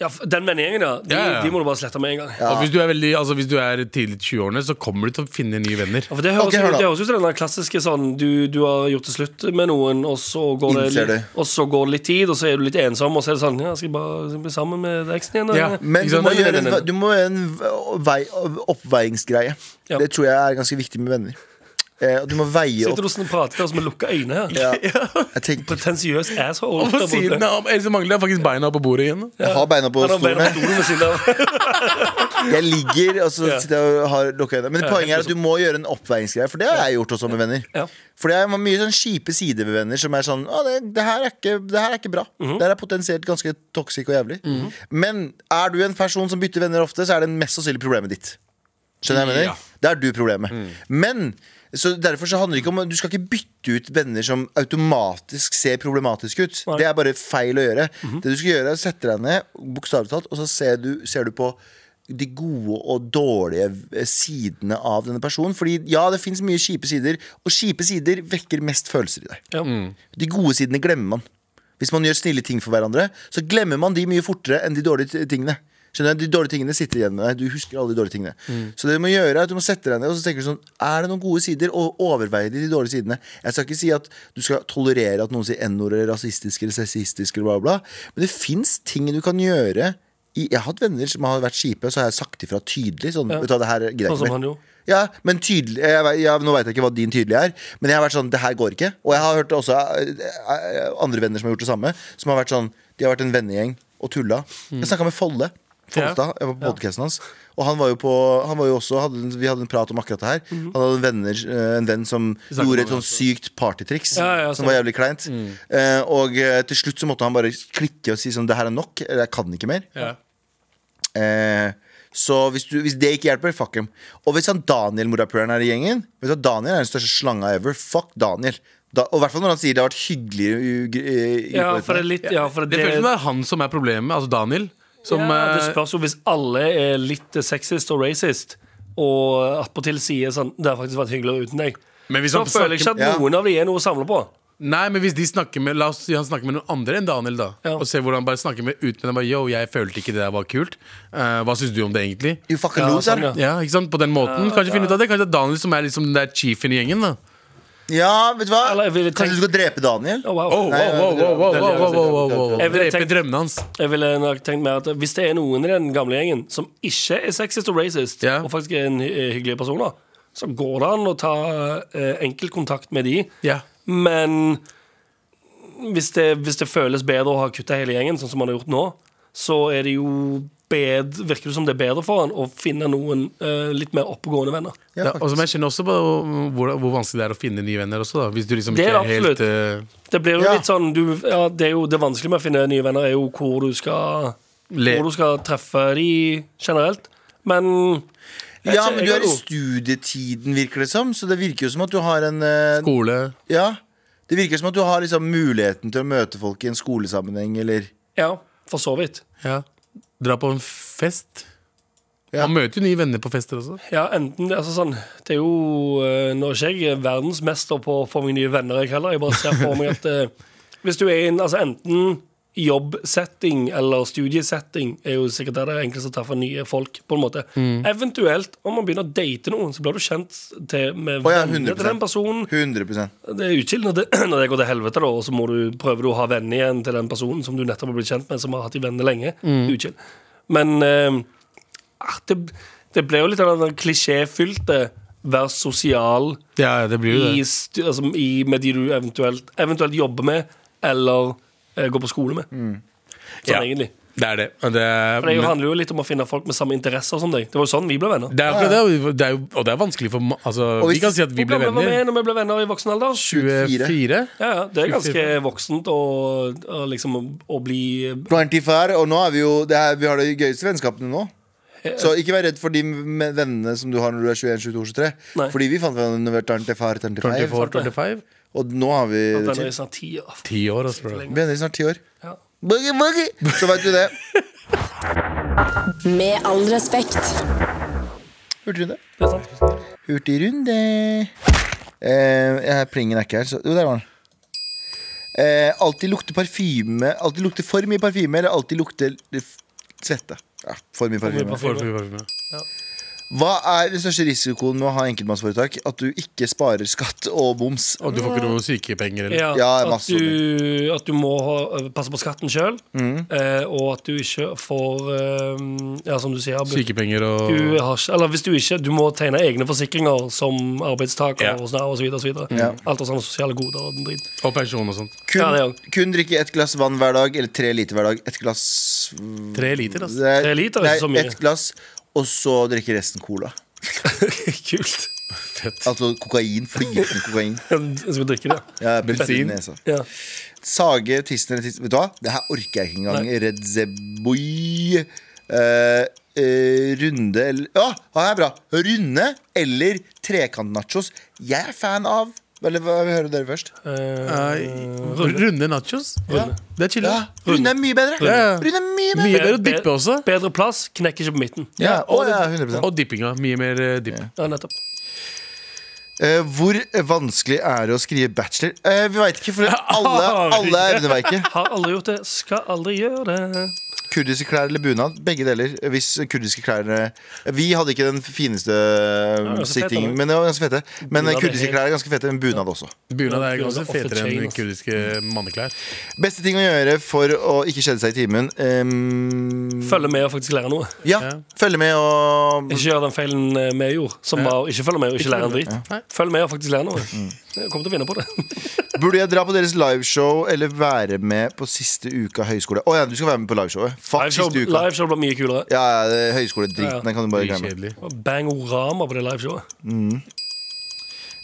Speaker 3: ja, f- Den vennegjengen, ja. De,
Speaker 4: Ja, ja.
Speaker 3: de må du bare slette med en gang.
Speaker 4: Og hvis du er, veldig, altså, hvis du er tidlig i 20-årene, så kommer du til å finne nye venner.
Speaker 3: Ja, for det høres
Speaker 2: Ok, hør
Speaker 3: ut
Speaker 2: da.
Speaker 3: det høres ut som den der klassiske sånn du, du har gjort det slutt med noen, og så, går det
Speaker 2: Innser
Speaker 3: litt,
Speaker 2: det.
Speaker 3: og så går det litt tid, og så er du litt ensom, og så er det sånn Ja, skal jeg bare bli sammen med eksen igjen?
Speaker 4: Ja.
Speaker 3: eller?
Speaker 2: Men
Speaker 4: Ikke
Speaker 2: du
Speaker 4: sant?
Speaker 2: må
Speaker 4: Nei,
Speaker 2: gjøre
Speaker 3: nei,
Speaker 2: en,
Speaker 3: nei, nei.
Speaker 2: du må gjøre en vei, oppveiingsgreie.
Speaker 3: Ja.
Speaker 2: Det tror jeg er ganske viktig med venner. Eh, og du må veie
Speaker 3: Sitter
Speaker 2: opp.
Speaker 3: du sånn og prater til oss med lukka øyne her?
Speaker 2: Ja. Jeg, tenker,
Speaker 3: Pretensiøs asshole.
Speaker 4: Og
Speaker 3: der
Speaker 4: på
Speaker 3: borte.
Speaker 4: siden av, ellers så mangler jeg faktisk beina på bordet igjen. da.
Speaker 2: jeg har beina på
Speaker 3: Han har beina på
Speaker 2: stolene.
Speaker 3: stolen ved siden av.
Speaker 2: Jeg ligger og så
Speaker 3: Ja.
Speaker 2: sitter jeg og har lukka øynene. Men
Speaker 3: Ja,
Speaker 2: poenget er
Speaker 3: helt
Speaker 2: at du må gjøre en oppveiingsgreie, for det har jeg gjort også med venner.
Speaker 3: Ja.
Speaker 2: For det er mye sånn kjipe sider ved venner som er sånn Å, det, det, her er ikke, det her er ikke bra.
Speaker 3: Mhm.
Speaker 2: Det her er potensielt ganske toxic og jævlig. Men er du en person som bytter venner ofte, så er det mest sannsynlig problemet ditt. Skjønner jeg hva jeg
Speaker 4: Ja.
Speaker 2: mener? Det er du problemet. Men så derfor så handler det ikke om Du skal ikke bytte ut venner som automatisk ser problematisk ut.
Speaker 3: Nei.
Speaker 2: Det er bare feil å gjøre. Det du skal gjøre, er å sette deg ned, bokstavelig talt, og så ser du, ser du på de gode og dårlige eh, sidene av denne personen. Fordi ja, det fins mye kjipe sider, og kjipe sider vekker mest følelser i deg.
Speaker 3: Ja.
Speaker 2: De gode sidene glemmer man. Hvis man gjør snille ting for hverandre, så glemmer man de mye fortere enn de dårlige t- tingene. Skjønner du? De dårlige tingene sitter igjen med deg. Du husker alle de dårlige tingene.
Speaker 3: Mm.
Speaker 2: Så det du må gjøre, er at du må sette deg ned og så tenker du sånn Er det noen gode sider? Og overveie de, de dårlige sidene. Jeg skal ikke si at du skal tolerere at noen sier n-ord eller rasistisk eller sexistisk eller bla, bla, bla. Men det fins ting du kan gjøre i Jeg har hatt venner som har vært kjipe, så har jeg sagt ifra tydelig. Sånn,
Speaker 3: Ja.
Speaker 2: vet du, hva, det her gidder jeg ikke
Speaker 3: Sånn som
Speaker 2: mer.
Speaker 3: han gjorde.
Speaker 2: Ja, men tydelig jeg, vet- ja, Nå veit jeg ikke hva din tydelige er, men jeg har vært sånn Det her går ikke. Og jeg har hørt også eh, eh, andre venner som har gjort det samme, som har vært sånn De har vært en vennegjeng og tulla. Jeg snakka med Folle. Folstad. Jeg var på podcasten hans. Og han var jo på Han var jo også hadde, en- Vi hadde en prat om akkurat det her. Han hadde en, venner, eh, en venn som
Speaker 4: Mhm. snakket om
Speaker 2: gjorde et
Speaker 4: det
Speaker 2: sånn sykt partytriks
Speaker 3: Ja, ja,
Speaker 2: som
Speaker 3: stemmer.
Speaker 2: var jævlig kleint.
Speaker 4: Mm.
Speaker 2: Eh, og eh, til slutt så måtte han bare klikke og si sånn Det her er nok. Jeg kan ikke mer.
Speaker 4: Ja.
Speaker 2: Eh, så hvis, du, hvis det ikke hjelper, fuck him. Og hvis han Daniel morapuleren er i gjengen Vet du at Daniel er den største slanga ever. Fuck Daniel. Da, og i hvert fall når han sier det har vært hyggelig. i- i- i-
Speaker 3: Ja, for det er litt Ja, for
Speaker 4: Det
Speaker 3: det,
Speaker 4: føles som det er han som er problemet, altså Daniel. Som,
Speaker 3: ja, det
Speaker 4: eh,
Speaker 3: spørs jo hvis alle er litt sexist og racist, og attpåtil sier sånn Det har faktisk vært hyggeligere uten deg.
Speaker 4: Men hvis
Speaker 3: Så
Speaker 4: han
Speaker 3: føler jeg ikke
Speaker 4: snakker-
Speaker 3: at noen av de er noe å samle på.
Speaker 4: Nei, men hvis de snakker med La oss si han snakker med noen andre enn Daniel, da.
Speaker 3: Ja.
Speaker 4: Og ser hvordan han bare snakker med ut med dem. Bare, Yo, jeg følte ikke det der var kult. Eh, hva syns du om det, egentlig?
Speaker 2: You fucking
Speaker 3: Ja,
Speaker 2: loser.
Speaker 3: sånn, ja.
Speaker 4: Ja, ikke sant? På den måten. Kanskje finne ut av det. Kanskje det er Daniel som er liksom den der chiefen i gjengen, da.
Speaker 2: Ja, vet du hva?
Speaker 3: Eller jeg ville tenkt-
Speaker 2: Kanskje du skal drepe Daniel?
Speaker 3: Å, wow.
Speaker 4: Oh, wow,
Speaker 2: Nei,
Speaker 4: wow, wow, wow, wow, wow, wow, wow, wow.
Speaker 3: Jeg ville
Speaker 4: Drepe
Speaker 3: tenkt-
Speaker 4: drømmene hans.
Speaker 3: Jeg ville nok tenkt mer at Hvis det er eh, noen i den gamle gjengen som ikke er sexist og racist,
Speaker 4: Ja.
Speaker 3: og faktisk er en hy- hyggelige personer, så går det an å ta eh, enkeltkontakt med de.
Speaker 4: Ja.
Speaker 3: Men hvis det, hvis det føles bedre å ha kutta hele gjengen, sånn som man har gjort nå, så er det jo bed, virker det som det er bedre for han å finne noen eh, litt mer oppegående venner.
Speaker 2: Ja,
Speaker 4: og som jeg kjenner også på hvor, hvor vanskelig det er å finne nye venner også, da. Hvis du liksom
Speaker 3: Det
Speaker 4: ikke
Speaker 3: er
Speaker 4: er,
Speaker 3: det
Speaker 4: helt eh,
Speaker 3: Det blir jo
Speaker 2: Ja.
Speaker 3: litt sånn du, ja, det, er jo, det vanskelige med å finne nye venner er jo hvor du skal,
Speaker 4: Le-
Speaker 3: hvor du skal treffe de generelt. Men jeg
Speaker 2: Ja,
Speaker 3: vet ikke,
Speaker 2: men
Speaker 3: jeg
Speaker 2: du er i
Speaker 3: jo-
Speaker 2: studietiden, virker det som. Så det virker jo som at du har en eh,
Speaker 4: skole
Speaker 2: Ja. Det virker som at du har liksom muligheten til å møte folk i en skolesammenheng, eller
Speaker 3: Ja, for så vidt.
Speaker 4: ja. Dra på en fest.
Speaker 2: Ja.
Speaker 4: Man møter jo nye venner på fester også.
Speaker 3: Ja, enten det, altså sånn, det er jo eh, Nå er ikke jeg verdensmester på å få meg nye venner, jeg heller. Jeg bare ser for meg at eh, hvis du er i en altså Enten jobbsetting eller studiesetting er jo sikkert der det er enklest å treffe nye folk. på en måte
Speaker 2: Mm.
Speaker 3: Eventuelt, om man begynner å date noen, så blir du kjent til, med
Speaker 2: Å ja,
Speaker 3: vennene til
Speaker 2: 100%.
Speaker 3: den personen.
Speaker 2: 100
Speaker 3: Det er utskilt når, det- når det går til helvete, da, og så må du, prøver du å ha venner igjen til den personen som du nettopp har blitt kjent med, som har hatt de venner lenge.
Speaker 4: Mm.
Speaker 3: Utskilt. Men eh, ah, det, det ble jo litt av den klisjéfylte vær sosial
Speaker 4: Ja, ja, det blir jo
Speaker 3: i,
Speaker 4: det.
Speaker 3: stu- altså, i, med de du eventuelt, eventuelt jobber med, eller eh, går på skole med. Sånn
Speaker 4: Mm. Ja.
Speaker 3: egentlig.
Speaker 4: Det er det. Og det er,
Speaker 3: For det handler jo litt om å finne folk med samme interesser som deg. Det var jo sånn vi ble venner.
Speaker 4: det er akkurat det, og det er jo, og det er vanskelig for ma- altså, Vi
Speaker 2: hvis-
Speaker 4: kan si at vi
Speaker 3: Hvor
Speaker 4: ble
Speaker 3: gamle var vi
Speaker 4: venner.
Speaker 3: når vi ble venner i voksen alder?
Speaker 4: 24?
Speaker 3: Ja, ja, det er ganske voksent å, å liksom å bli
Speaker 2: 25, og nå er vi jo det er, Vi har de gøyeste vennskapene nå. Så ikke vær redd for de med- vennene som du har når du er 21, 22, 23.
Speaker 3: Nei.
Speaker 2: Fordi vi fant hverandre når vi var 25, 25,
Speaker 4: 24, 25?
Speaker 2: og nå har vi det
Speaker 3: Den er
Speaker 2: til.
Speaker 3: snart ti år.
Speaker 4: Ti år, altså. bro.
Speaker 2: Vi er snart ti år.
Speaker 3: Ja.
Speaker 2: Boogie, boogie. Så veit du det.
Speaker 5: Med all respekt.
Speaker 2: Hurtigrunde.
Speaker 3: Det er sant.
Speaker 2: Hurtigrunde. Eh, jeg- plingen er ikke her, så Jo, der var den. Eh, alltid lukte parfyme Alltid lukte for mye parfyme, eller alltid lukte f- svette. Ja, for mye parfyme.
Speaker 3: parfyme.
Speaker 4: Foreløpig parfyme.
Speaker 2: Hva er den største risikoen med å ha enkeltmannsforetak? At du ikke sparer skatt og boms.
Speaker 4: Og du får ikke noe sykepenger eller
Speaker 3: Ja,
Speaker 2: Ja,
Speaker 3: at,
Speaker 2: masse
Speaker 3: du, at du må ha, passe på skatten sjøl,
Speaker 2: Mm.
Speaker 3: eh, og at du ikke får eh, Ja, som du sier, Abu.
Speaker 4: Sykepenger og
Speaker 3: Du har, ikke- eller hvis du ikke Du må tegne egne forsikringer som arbeidstaker
Speaker 4: Ja.
Speaker 3: og sånn og så videre. Og så videre.
Speaker 2: Ja.
Speaker 3: Alt av sånne sosiale goder og den dritt.
Speaker 4: Og pensjon og sånt.
Speaker 2: Kun,
Speaker 3: Ja, det er jo-
Speaker 2: kun drikke ett glass vann hver dag, eller tre liter hver dag. Ett glass
Speaker 4: Tre liter, altså.
Speaker 2: Nei,
Speaker 3: Tre liter er ikke så mye.
Speaker 2: Ett glass, og så drikke resten cola.
Speaker 3: Kult.
Speaker 4: Fett.
Speaker 2: Altså kokain. Flytende kokain.
Speaker 3: Jeg skal drikke det.
Speaker 2: Ja, jeg er på
Speaker 4: Bensin.
Speaker 2: siden i nesa.
Speaker 3: Ja.
Speaker 2: Sage, tissen eller tissen Vet du hva? Det her orker jeg ikke engang.
Speaker 3: Nei.
Speaker 2: Red Zeboy. Eh, eh, runde eller Ja, ah, her er bra. Runde eller trekantnachos. Jeg er fan av Eller hva vil høre dere først?
Speaker 3: Eh,
Speaker 4: Nei, Eh, runde nachos?
Speaker 3: Runde.
Speaker 4: Det er chill.
Speaker 2: Ja, runde er mye bedre.
Speaker 4: Ja, ja.
Speaker 2: Runde er mye bedre.
Speaker 4: Mye bedre å dippe også.
Speaker 3: Bedre plass, knekker ikke på midten.
Speaker 2: Ja, å, ja, 100%.
Speaker 4: Og dippinga. Mye mer eh, dipp.
Speaker 3: Ja, nettopp.
Speaker 2: Eh, hvor vanskelig er det å skrive bachelor? Eh, vi veit ikke, for alle, alle er rundeveike.
Speaker 3: Har aldri gjort det, skal aldri gjøre det.
Speaker 2: Kurdiske klær eller bunad? Begge deler. Hvis kurdiske klær eh, Vi hadde ikke den fineste
Speaker 3: var ganske fete,
Speaker 2: sittingen,
Speaker 3: da.
Speaker 2: men det var ganske fete. Men eh,
Speaker 3: Bunad er
Speaker 2: kurdiske
Speaker 3: helt-
Speaker 2: klær er ganske fete, men bunad også.
Speaker 4: Bunad er
Speaker 3: Bunad er
Speaker 4: ganske
Speaker 3: off the
Speaker 4: fetere
Speaker 3: chain,
Speaker 4: enn
Speaker 3: ass.
Speaker 4: kurdiske
Speaker 2: Mm.
Speaker 4: manneklær.
Speaker 2: Beste ting å gjøre for å ikke kjede seg i timen? ehm,
Speaker 3: Følge med og faktisk lære noe.
Speaker 2: ja,
Speaker 4: Ja.
Speaker 2: følge med og
Speaker 3: Ikke gjør den feilen eh, vi gjorde, som var å ikke følge med Mm. og ikke lære en
Speaker 4: Nei.
Speaker 3: dritt. Følg med og faktisk lære noe. Jeg kommer til å vinne på det.
Speaker 2: Burde jeg dra på deres liveshow eller være med på siste uke av høyskole? Å ja, du skal være med på liveshowet. Fuck
Speaker 3: Liveshow
Speaker 2: siste uka.
Speaker 3: liveshow blir mye kulere.
Speaker 2: Ja, ja, det- høyskoledriten,
Speaker 3: Ja, ja.
Speaker 2: den kan du bare glemme.
Speaker 4: Kjedelig.
Speaker 3: Bangorama på det liveshowet.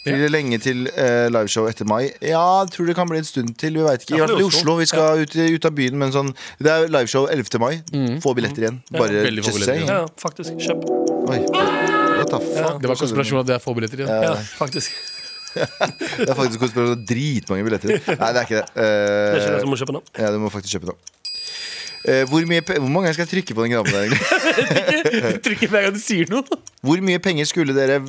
Speaker 2: Blir det lenge til eh, liveshow etter mai? Ja, jeg tror det kan bli en stund til. Vi vet ikke. I
Speaker 3: Ja,
Speaker 2: hvert fall i
Speaker 3: for det er Oslo.
Speaker 2: Oslo. Vi skal ut, ut av byen, men sånn Det er liveshow 11. mai.
Speaker 3: Mm.
Speaker 2: Få billetter igjen. Bare
Speaker 4: Veldig få
Speaker 2: just
Speaker 4: billetter,
Speaker 2: saying.
Speaker 3: Ja, faktisk. Kjøp.
Speaker 2: Oi. What the fuck?
Speaker 4: Det var konspirasjon at det er få billetter igjen.
Speaker 3: Ja, faktisk.
Speaker 2: Det er faktisk konspirasjon. Dritmange billetter. Nei, det er ikke det. Eh,
Speaker 3: Det er ikke det som må kjøpe nå.
Speaker 2: ja, du må faktisk kjøpe det. Eh, hvor, mye pe hvor mange ganger skal jeg trykke på den knappen der, egentlig?
Speaker 3: eh,
Speaker 4: Trykker hver gang du sier noe.
Speaker 2: Hvor mye penger skulle dere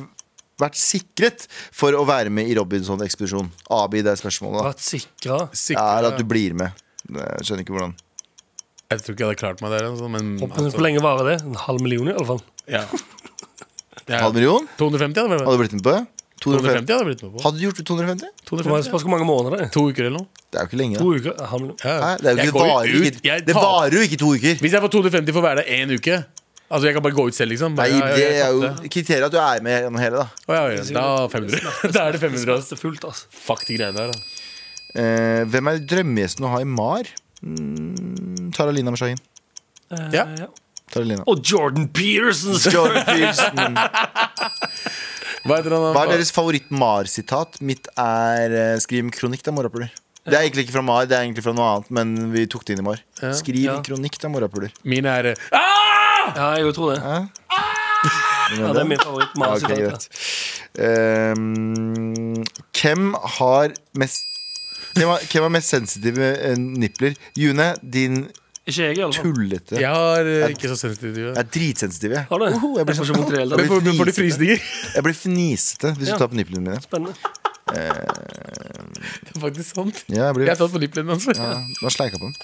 Speaker 2: vært sikret for å være med i Robinson-ekspedisjonen? Abi, det er spørsmålet. da.
Speaker 3: Vært sikra.
Speaker 2: Ja,
Speaker 4: Sikkert.
Speaker 2: eller at du blir med. Jeg skjønner ikke hvordan.
Speaker 4: Jeg tror ikke jeg hadde klart meg der. altså, Men altså,
Speaker 3: Hvor lenge varer det? En halv million, i alle fall.
Speaker 4: ja. Ja.
Speaker 2: Halv million?
Speaker 4: 250 hadde vært
Speaker 2: Hadde du blitt med på det? 250.
Speaker 4: 250 hadde blitt med på.
Speaker 2: Hadde du gjort det 250?
Speaker 3: Det var spørs hvor mange måneder det er.
Speaker 4: To uker eller noe.
Speaker 2: Det er jo ikke lenge.
Speaker 3: To
Speaker 2: da.
Speaker 3: uker. En halv million.
Speaker 4: Ja.
Speaker 2: Hæ? Det, er jo
Speaker 4: Jeg
Speaker 2: ikke,
Speaker 4: går
Speaker 2: det,
Speaker 4: jo
Speaker 2: varer jo
Speaker 4: ut.
Speaker 2: ikke,
Speaker 4: Jeg
Speaker 2: det
Speaker 4: taper.
Speaker 2: varer jo ikke to uker.
Speaker 4: Hvis jeg får 250 for hver dag én uke Altså, jeg kan bare gå ut selv, liksom?
Speaker 2: Nei,
Speaker 4: Bare, ja, ja,
Speaker 2: det
Speaker 4: jeg
Speaker 2: er jo
Speaker 4: tapte.
Speaker 2: kriteriet at du er med gjennom hele, da.
Speaker 4: Å, ja, ja, Da 500. Da er det 500. ass.
Speaker 3: Det er fullt, altså.
Speaker 4: Fuck de greiene der. da.
Speaker 2: Eh, hvem er drømmegjesten å ha i Mar? Mm, Tara Lina Mashahin.
Speaker 3: Eh,
Speaker 4: Ja.
Speaker 2: Tara Lina.
Speaker 3: Og Jordan Peterson!
Speaker 2: Jordan Peterson.
Speaker 4: Hva heter han?
Speaker 2: Hva er deres favoritt-Mar-sitat? Mitt er eh, 'Skriv kronikk, da, morapuler'. Det er egentlig ikke fra Mar, det er egentlig fra noe annet, men vi tok det inn i Mar. Skriv
Speaker 3: Ja.
Speaker 2: kronikk, da, morapuler.
Speaker 4: Min er ah!
Speaker 3: Ja, jeg tror det. Ja, det er min favoritt.
Speaker 2: Ja,
Speaker 3: Mars,
Speaker 2: ok, greit. Ehm, hvem har mest hvem har, hvem har mest sensitive eh, nipler? June, din
Speaker 3: Ikke jeg, i alle fall.
Speaker 2: tullete
Speaker 4: Jeg har eh, ikke så sensitiv
Speaker 2: Jeg er dritsensitiv, jeg.
Speaker 3: Har du?
Speaker 2: Oho, jeg, blir
Speaker 3: Jeg
Speaker 2: sånn-
Speaker 3: får ikke vondt i det hele
Speaker 2: jeg blir
Speaker 3: tatt.
Speaker 4: Får du
Speaker 2: fnisete.
Speaker 4: frysninger?
Speaker 2: Jeg blir fnisete hvis
Speaker 3: Ja.
Speaker 2: du tar på niplene mine.
Speaker 3: Spennende.
Speaker 4: Det er faktisk sant.
Speaker 2: Ja, jeg blir
Speaker 4: Jeg har tatt på altså. nippelen hans.
Speaker 2: ja, nå sleika på den.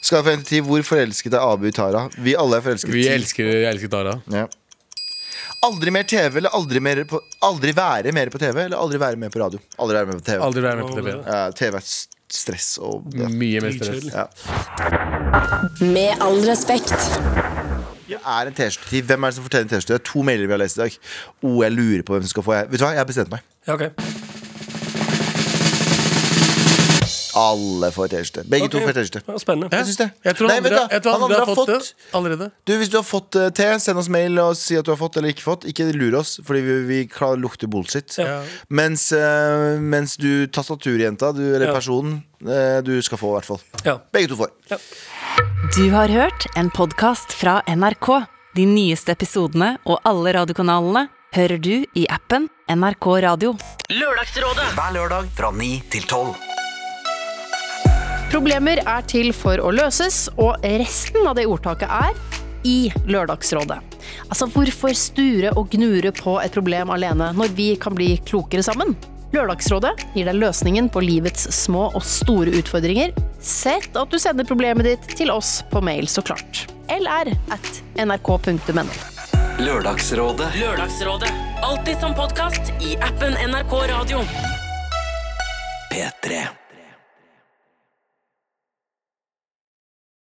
Speaker 2: Skal fra 1 til 10. Hvor forelsket er Abu i Tara? Vi alle er forelsket.
Speaker 4: Vi
Speaker 2: i ti.
Speaker 4: elsker, jeg elsker Tara.
Speaker 2: Ja. Aldri mer TV, eller aldri, mer på, aldri være mer på TV, eller aldri være med på radio. Aldri være med på TV.
Speaker 4: Aldri Mm. være med på TV.
Speaker 2: Ja, TV er s- stress og ja.
Speaker 4: Mye mer stress.
Speaker 3: Dritkjedelig.
Speaker 2: Ja.
Speaker 5: Med all respekt.
Speaker 2: Det er en T-skjorte. Hvem er det som fortjener en T-skjorte? Det er to mailer vi har lest i dag. Å, jeg lurer på hvem som skal få. Jeg. Vet du hva, jeg har bestemt meg.
Speaker 3: Ja, ok.
Speaker 2: Alle får T-skjorte. Begge
Speaker 3: Ok.
Speaker 2: to får T-skjorte.
Speaker 3: Ja, spennende.
Speaker 2: Jeg syns det.
Speaker 4: Jeg tror
Speaker 2: Nei,
Speaker 4: andre,
Speaker 2: vent da.
Speaker 4: jeg tror
Speaker 2: Han
Speaker 4: andre, har fått det allerede.
Speaker 2: Du, Hvis du har fått eh, te, send oss mail og si at du har fått eller ikke fått. Ikke lur oss, fordi vi, vi klar, lukter bullshit.
Speaker 3: Ja.
Speaker 2: Mens, eh, mens du, tastaturjenta, du, eller
Speaker 3: Ja.
Speaker 2: personen, eh, du skal få i hvert fall.
Speaker 3: Ja.
Speaker 2: Begge to får.
Speaker 1: Du har hørt en podkast fra NRK. De nyeste episodene og alle radiokanalene hører du i appen NRK Radio.
Speaker 6: Lørdagsrådet
Speaker 7: Hver lørdag fra 9 til 12.
Speaker 8: Problemer er til for å løses, og resten av det ordtaket er i Lørdagsrådet. Altså, hvorfor sture og gnure på et problem alene når vi kan bli klokere sammen? Lørdagsrådet gir deg løsningen på livets små og store utfordringer. Sett at du sender problemet ditt til oss på mail, så klart. LR at nrk.no.
Speaker 7: Lørdagsrådet
Speaker 6: Lørdagsrådet Altid som podcast i appen NRK Radio
Speaker 7: P3